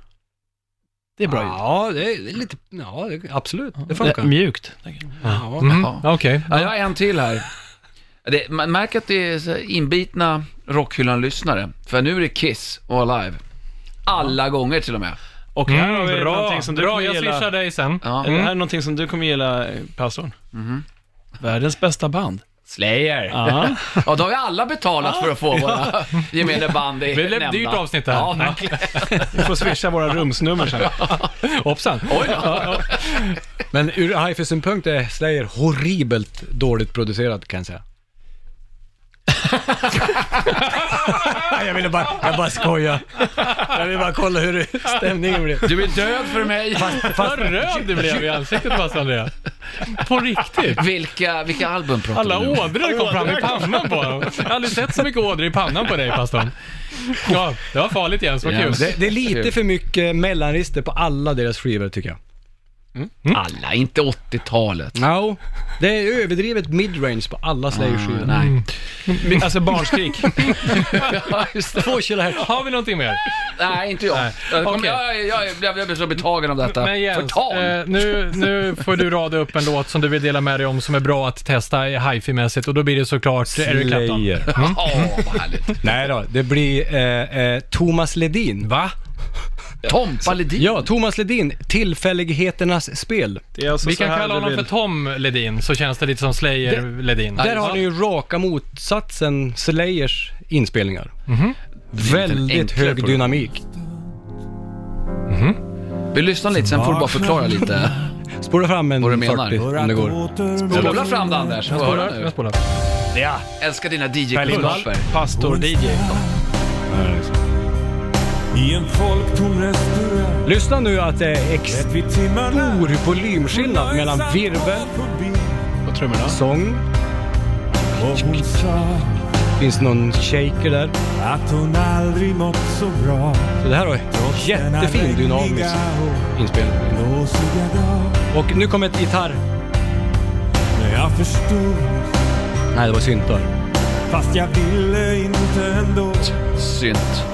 [SPEAKER 2] Det är bra ljud.
[SPEAKER 5] Ja, det är lite... Ja, det, absolut. Det
[SPEAKER 2] Det är
[SPEAKER 5] funkar.
[SPEAKER 2] mjukt. tänker jag.
[SPEAKER 5] Ja.
[SPEAKER 4] Mm,
[SPEAKER 3] Ja.
[SPEAKER 4] Okej.
[SPEAKER 3] Ja, jag har en till här. Det, man märker att det är så här inbitna Rockhyllan-lyssnare. För nu är det Kiss och Alive. Alla gånger till och med.
[SPEAKER 2] Och här har vi
[SPEAKER 4] Mm, bra,
[SPEAKER 2] någonting som du
[SPEAKER 4] bra.
[SPEAKER 2] kommer
[SPEAKER 4] Jag Mm.
[SPEAKER 2] gilla.
[SPEAKER 4] swishar dig sen.
[SPEAKER 3] Ja. Mm.
[SPEAKER 2] Är Det här är någonting som du kommer gilla, eh, pastorn. Världens bästa band.
[SPEAKER 3] Slayer.
[SPEAKER 2] Ja.
[SPEAKER 3] Ja, då har vi alla betalat för att få våra gemene band i
[SPEAKER 4] Det blev
[SPEAKER 3] nämnda.
[SPEAKER 4] ett dyrt avsnitt det här.
[SPEAKER 3] Ja, verkligen.
[SPEAKER 2] Vi får swisha våra rumsnummer sen.
[SPEAKER 4] Hoppsan.
[SPEAKER 3] Oj då.
[SPEAKER 5] Men ur hifi-synpunkt är Slayer horribelt dåligt producerat kan jag säga. jag ville bara, jag bara skojar. Jag ville bara kolla hur stämningen blev.
[SPEAKER 3] Du är död för mig.
[SPEAKER 4] Vad röd du blev i ansiktet Mats Andrea. På riktigt.
[SPEAKER 3] Vilka, vilka album pratar
[SPEAKER 4] Alla
[SPEAKER 3] vi nu om?
[SPEAKER 4] ådror kom fram i pannan på honom. Jag har aldrig sett så mycket ådror i pannan på dig pastorn. Ja, det var farligt Jens, vad
[SPEAKER 3] Ja,
[SPEAKER 4] kul.
[SPEAKER 3] men
[SPEAKER 5] Det, det är lite för mycket mellanrister på alla deras skivor tycker jag.
[SPEAKER 4] Mm.
[SPEAKER 3] Alla, inte 80-talet.
[SPEAKER 5] No, det är överdrivet midrange på alla
[SPEAKER 4] Ah,
[SPEAKER 5] Slayer-skivor.
[SPEAKER 4] Mm.
[SPEAKER 3] nej.
[SPEAKER 2] Men, Alltså barnskrik.
[SPEAKER 3] Ja, just det.
[SPEAKER 5] Två kilohertz.
[SPEAKER 4] Har vi någonting mer?
[SPEAKER 3] Nej, inte jag. Jag, kom,
[SPEAKER 4] okej.
[SPEAKER 3] jag, jag, jag, blev- jag blev så betagen av detta.
[SPEAKER 4] Men Jens,
[SPEAKER 3] Förtal!
[SPEAKER 4] eh, nu, nu får du rada upp en låt som du vill dela med dig om som är bra att testa hifi-mässigt och då blir det såklart Eric Clapton.
[SPEAKER 3] Ja, vad härligt.
[SPEAKER 4] Mm.
[SPEAKER 5] Nej då, det blir eh, eh, Thomas Ledin.
[SPEAKER 4] Va?
[SPEAKER 3] Tompa Ledin.
[SPEAKER 5] Ja, Thomas Ledin, Tillfälligheternas spel.
[SPEAKER 2] Det är alltså
[SPEAKER 4] Vi
[SPEAKER 2] så
[SPEAKER 4] kan
[SPEAKER 2] här
[SPEAKER 4] kalla
[SPEAKER 2] du
[SPEAKER 4] honom
[SPEAKER 2] vill.
[SPEAKER 4] för Tom Ledin, så känns det lite som
[SPEAKER 5] Det-
[SPEAKER 4] Slayer-Ledin.
[SPEAKER 5] Där har ni ju raka motsatsen Slayers inspelningar.
[SPEAKER 3] Mhm.
[SPEAKER 5] Väldigt
[SPEAKER 3] enklare
[SPEAKER 5] hög
[SPEAKER 3] program.
[SPEAKER 5] dynamik.
[SPEAKER 3] Vi lyssnar lite, sen får du bara förklara lite.
[SPEAKER 5] Spola fram en
[SPEAKER 3] Vad du menar.
[SPEAKER 5] 40 om det går.
[SPEAKER 3] Spola fram det Anders, får höra nu.
[SPEAKER 4] Jag spolar.
[SPEAKER 2] Ja,
[SPEAKER 3] Älskar dina
[SPEAKER 2] Lindvall,
[SPEAKER 3] DJ-kunskaper.
[SPEAKER 4] Mm.
[SPEAKER 2] pastor, DJ.
[SPEAKER 6] I en folktom restaurang
[SPEAKER 5] Lyssna nu att det är
[SPEAKER 6] rätt vid timmarna
[SPEAKER 5] stor volymskillnad mellan virvel,
[SPEAKER 6] förbi
[SPEAKER 2] Och trummorna.
[SPEAKER 5] sång,
[SPEAKER 6] Och hon sa
[SPEAKER 5] finns någon shaker där.
[SPEAKER 6] att hon aldrig mått så bra
[SPEAKER 5] Så det här har jättefin dynamisk inspelning.
[SPEAKER 6] Blåsiga dag
[SPEAKER 5] Och nu kommer ett gitarr...
[SPEAKER 6] När jag förstod
[SPEAKER 5] Nej, det var syntar.
[SPEAKER 6] Fast jag ville inte ändå
[SPEAKER 3] Synt.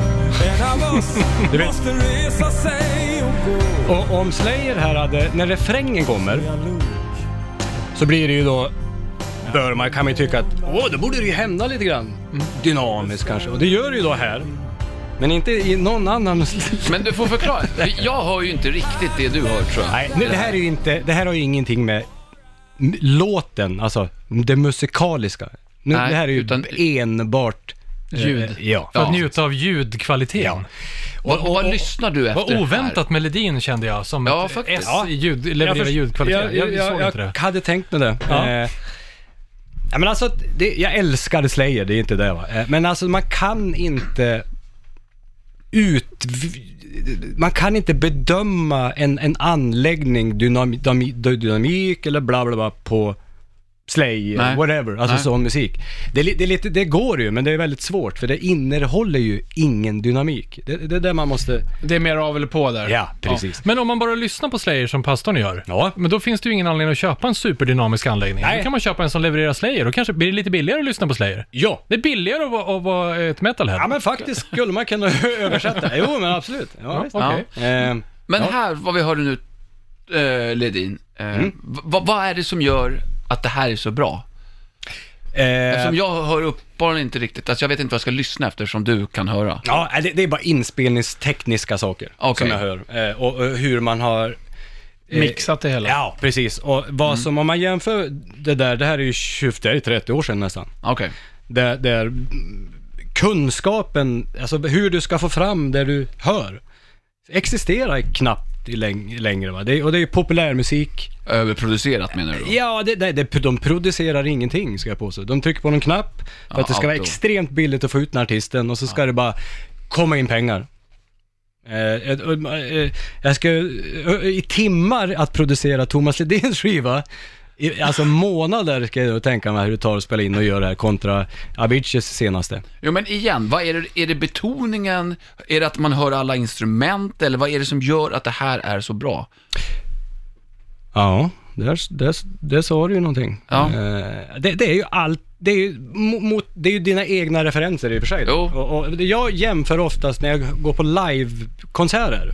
[SPEAKER 6] En av oss måste resa sig och gå
[SPEAKER 5] Och om Slayer här hade, när refrängen kommer,
[SPEAKER 6] Jag log
[SPEAKER 5] så blir det ju då bör man kan man ju tycka att åh, då borde det ju hända lite grann. Dynamiskt kanske. Och det gör det ju då här. Men inte i någon annan...
[SPEAKER 3] Men du får förklara. Jag hör ju inte riktigt det du hör tror jag.
[SPEAKER 5] Nej, nu, det här är ju inte, det här har ju ingenting med m- låten, alltså det musikaliska. Nu,
[SPEAKER 3] Nej,
[SPEAKER 5] det här är ju
[SPEAKER 3] utan-
[SPEAKER 5] enbart... eh,
[SPEAKER 3] Ljud.
[SPEAKER 5] Ja.
[SPEAKER 4] För att
[SPEAKER 3] Ja.
[SPEAKER 4] njuta av ljudkvaliteten.
[SPEAKER 3] Vad, vad lyssnar du efter
[SPEAKER 4] Vad
[SPEAKER 3] här?
[SPEAKER 4] oväntat med Ledin kände jag, som
[SPEAKER 3] Ja,
[SPEAKER 4] ett
[SPEAKER 3] faktiskt.
[SPEAKER 4] S i ljud, leverera
[SPEAKER 5] först-
[SPEAKER 4] ljudkvalitet. Jag,
[SPEAKER 5] jag,
[SPEAKER 4] såg
[SPEAKER 5] jag
[SPEAKER 4] inte det.
[SPEAKER 5] hade tänkt med det.
[SPEAKER 4] Ja.
[SPEAKER 5] Eh, ja, men alltså, det, jag älskar Slayer, det är inte det va. Eh, men alltså man kan inte ut... Man kan inte bedöma en, en anläggning, dynam, dynami, dynamik eller bla bla bla på Slayer,
[SPEAKER 3] Nej.
[SPEAKER 5] whatever, alltså
[SPEAKER 3] Nej.
[SPEAKER 5] sån musik. Det, är li- det, är lite, det går ju, men det är väldigt svårt för det innehåller ju ingen dynamik. Det, det är det man måste...
[SPEAKER 2] Det är mer av eller på där.
[SPEAKER 5] Ja, precis.
[SPEAKER 4] Men om man bara lyssnar på Slayer som pastorn gör,
[SPEAKER 5] Ja.
[SPEAKER 4] men då finns det ju ingen anledning att köpa en superdynamisk anläggning.
[SPEAKER 5] Nej.
[SPEAKER 4] Då kan man köpa en som levererar Slayer, och kanske blir det lite billigare att lyssna på Slayer.
[SPEAKER 5] ja.
[SPEAKER 4] Det är billigare att vara, att vara eh, ett metalhead.
[SPEAKER 5] Ja men faktiskt skulle man kunna översätta. Jo men absolut. Ja, visst.
[SPEAKER 4] Okej.
[SPEAKER 3] Ja.
[SPEAKER 5] Eh,
[SPEAKER 3] Men här, vad vi hörde nu, eh, Ledin. Eh, v- vad, vad är det som gör att det här är så bra? Eftersom
[SPEAKER 5] eh,
[SPEAKER 3] jag hör uppenbarligen inte riktigt, alltså jag vet inte vad jag ska lyssna efter som du kan höra.
[SPEAKER 5] ja, det, det är bara inspelningstekniska saker
[SPEAKER 3] Okej.
[SPEAKER 5] som jag hör. Eh, och, och hur man har... eh,
[SPEAKER 2] Mixat det hela.
[SPEAKER 5] Ja, precis. Och vad
[SPEAKER 3] Mm.
[SPEAKER 5] som, om man jämför det där, det här är ju 20, det är 30 år sedan nästan.
[SPEAKER 3] Okej.
[SPEAKER 5] Där, där mm, kunskapen, alltså hur du ska få fram det du hör, existerar knappt i läng- längre va. Det, är- och det är ju populärmusik.
[SPEAKER 3] Överproducerat menar du då?
[SPEAKER 5] Ja, det, det, det, de producerar ingenting ska jag påstå. De trycker på någon knapp för
[SPEAKER 3] Ja,
[SPEAKER 5] att det ska vara
[SPEAKER 3] auto.
[SPEAKER 5] extremt billigt att få ut den artisten och så ska det bara komma in pengar. Eh, ett- och, eh, jag ska eh, i timmar att producera Thomas Ledins skiva, i, alltså månader ska jag då tänka mig hur det tar att spela in och göra det här kontra Aviciis senaste.
[SPEAKER 3] Jo men igen, vad är det, är det betoningen? Är det att man hör alla instrument? Eller vad är det som gör att det här är så bra?
[SPEAKER 5] Ja, där, där, där sa du ju någonting.
[SPEAKER 3] Ja.
[SPEAKER 5] Eh, det, det är ju allt, det är ju, mo- mot, det är ju dina egna referenser i och för sig. då.
[SPEAKER 3] Jo.
[SPEAKER 5] Och, och det- jag jämför oftast när jag går på livekonserter,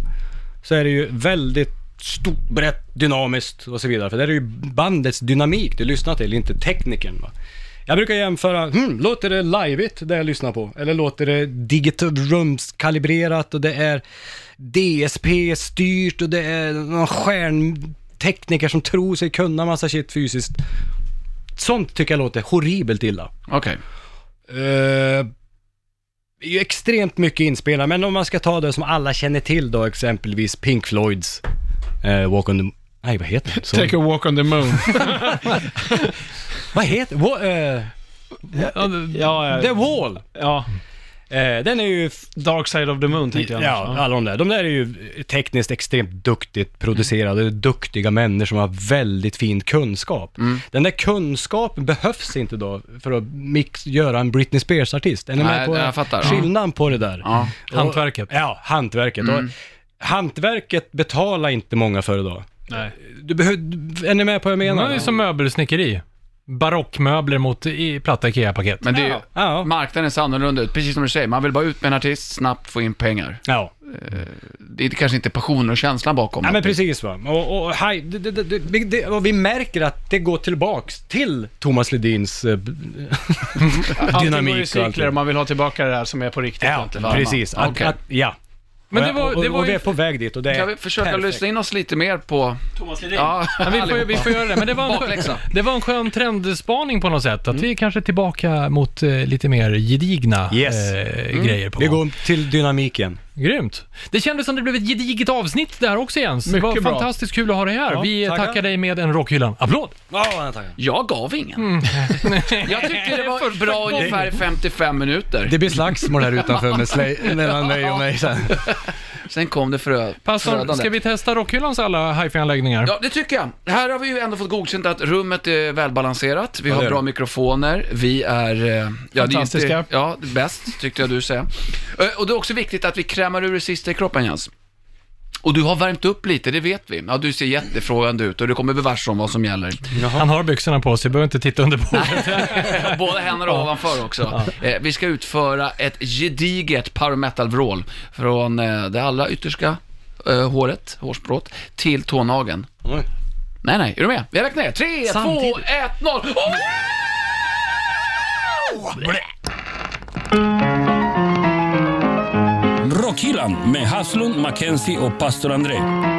[SPEAKER 5] så är det ju väldigt stort, brett, dynamiskt och så vidare. För det är ju bandets dynamik du lyssnar till, inte tekniken. Va? Jag brukar jämföra, hmm, låter det liveigt det jag lyssnar på? Eller låter det digital rumskalibrerat och det är DSP-styrt och det är någon stjärntekniker som tror sig kunna massa shit fysiskt. Sånt tycker jag låter horribelt illa.
[SPEAKER 3] Okej.
[SPEAKER 5] Eh, det är ju extremt mycket inspelat, men om man ska ta det som alla känner till då, exempelvis Pink Floyds eh, Walk on the... Nej, vad heter det? Så,
[SPEAKER 2] Take a walk on the moon.
[SPEAKER 5] vad heter Wa- eh,
[SPEAKER 2] ja, ja,
[SPEAKER 5] The Wall!
[SPEAKER 2] ja,
[SPEAKER 5] Eh, den är ju... f-
[SPEAKER 2] Dark Side of the Moon tänkte jag.
[SPEAKER 5] Ja, alla de där. De där är ju tekniskt extremt duktigt producerade,
[SPEAKER 3] Mm.
[SPEAKER 5] duktiga människor som har väldigt fin kunskap. Den där kunskapen behövs inte då för att mix, göra en Britney Spears-artist. Är ni
[SPEAKER 3] Nej,
[SPEAKER 5] med på
[SPEAKER 3] jag fattar. Ja.
[SPEAKER 5] skillnaden på det där?
[SPEAKER 3] Ja. Mm.
[SPEAKER 5] Och-
[SPEAKER 4] Hantverket.
[SPEAKER 5] Ja, hantverket. Och hantverket betalar inte många för idag.
[SPEAKER 2] Nej.
[SPEAKER 5] Du behöver, är ni med på vad jag
[SPEAKER 4] Det
[SPEAKER 5] menar?
[SPEAKER 4] är ju som möbelsnickeri. Barockmöbler mot i platta IKEA-paket.
[SPEAKER 3] Men det är ju,
[SPEAKER 5] Ja.
[SPEAKER 3] marknaden ser annorlunda ut, precis som du säger. Man vill bara ut med en artist, snabbt få in pengar.
[SPEAKER 5] ja.
[SPEAKER 3] Det är kanske inte passionen och känslan bakom.
[SPEAKER 5] Nej men precis va. Och, och, haj, det, det, det, vi- det, och vi märker att det går tillbaks till Thomas Ledins eh, b-
[SPEAKER 2] Allting går i
[SPEAKER 5] dynamik och allt.
[SPEAKER 2] cykler om man vill ha tillbaka det här som är på riktigt.
[SPEAKER 5] Ja,
[SPEAKER 2] egentligen.
[SPEAKER 5] precis. Att,
[SPEAKER 3] Okej.
[SPEAKER 5] att, ja.
[SPEAKER 4] Men det var-
[SPEAKER 5] och, och,
[SPEAKER 4] det var
[SPEAKER 5] och vi
[SPEAKER 4] ju-
[SPEAKER 5] är på väg dit och det är
[SPEAKER 3] Kan vi försöka
[SPEAKER 5] perfekt.
[SPEAKER 3] lyssna in oss lite mer på...
[SPEAKER 2] Thomas Ledin.
[SPEAKER 3] Ja,
[SPEAKER 4] Ja, vi, får, vi får göra det, men det var, en skön,
[SPEAKER 3] Bakläxa.
[SPEAKER 4] det var en skön trendspaning på något sätt. Att vi är kanske tillbaka mot eh, lite mer gedigna
[SPEAKER 5] Yes.
[SPEAKER 4] eh, grejer på
[SPEAKER 5] Vi
[SPEAKER 4] gång.
[SPEAKER 5] går till dynamiken.
[SPEAKER 4] Grymt. Det kändes som det blev ett gediget avsnitt där också Jens. det
[SPEAKER 2] Mycket
[SPEAKER 4] var
[SPEAKER 2] bra.
[SPEAKER 4] fantastiskt kul att ha dig här.
[SPEAKER 5] Ja,
[SPEAKER 4] vi
[SPEAKER 5] tackar.
[SPEAKER 4] tackar dig med en Rockhyllan-applåd.
[SPEAKER 5] Ja, tackar.
[SPEAKER 3] jag gav ingen. Jag tyckte det var bra ungefär i 55 minuter.
[SPEAKER 5] Det blir slagsmål här utanför med slä- mellan dig och mig sen.
[SPEAKER 3] Sen kom det frö...
[SPEAKER 4] Pastor,
[SPEAKER 3] frödandet.
[SPEAKER 4] ska vi testa Rockhyllans alla hifi-anläggningar?
[SPEAKER 3] Ja, det tycker jag. Här har vi ju ändå fått godkänt att rummet är välbalanserat. Vi
[SPEAKER 5] det
[SPEAKER 3] har
[SPEAKER 5] är
[SPEAKER 3] bra
[SPEAKER 5] det.
[SPEAKER 3] mikrofoner. Vi är... eh, Ja, det är ju
[SPEAKER 2] Fantastiska.
[SPEAKER 3] Inte, ja, bäst, tyckte jag du säger. Och det är också viktigt att vi krämar ur det sista i kroppen, Jens. Och du har värmt upp lite, det vet vi. Ja, du ser jättefrågande ut och du kommer bevars om vad som gäller.
[SPEAKER 4] Han har byxorna på sig, behöver inte titta under bordet.
[SPEAKER 3] Båda händerna ovanför också. Eh, vi ska utföra ett gediget power metal-vrål från eh, det allra yttersta eh, håret, hårstrået, till tånageln.
[SPEAKER 5] Oj.
[SPEAKER 3] Nej, nej, är du med? Vi räknar ner. 3, 2, 1, 0.
[SPEAKER 1] Rockhyllan med Haslund, Mackenzie och pastor André.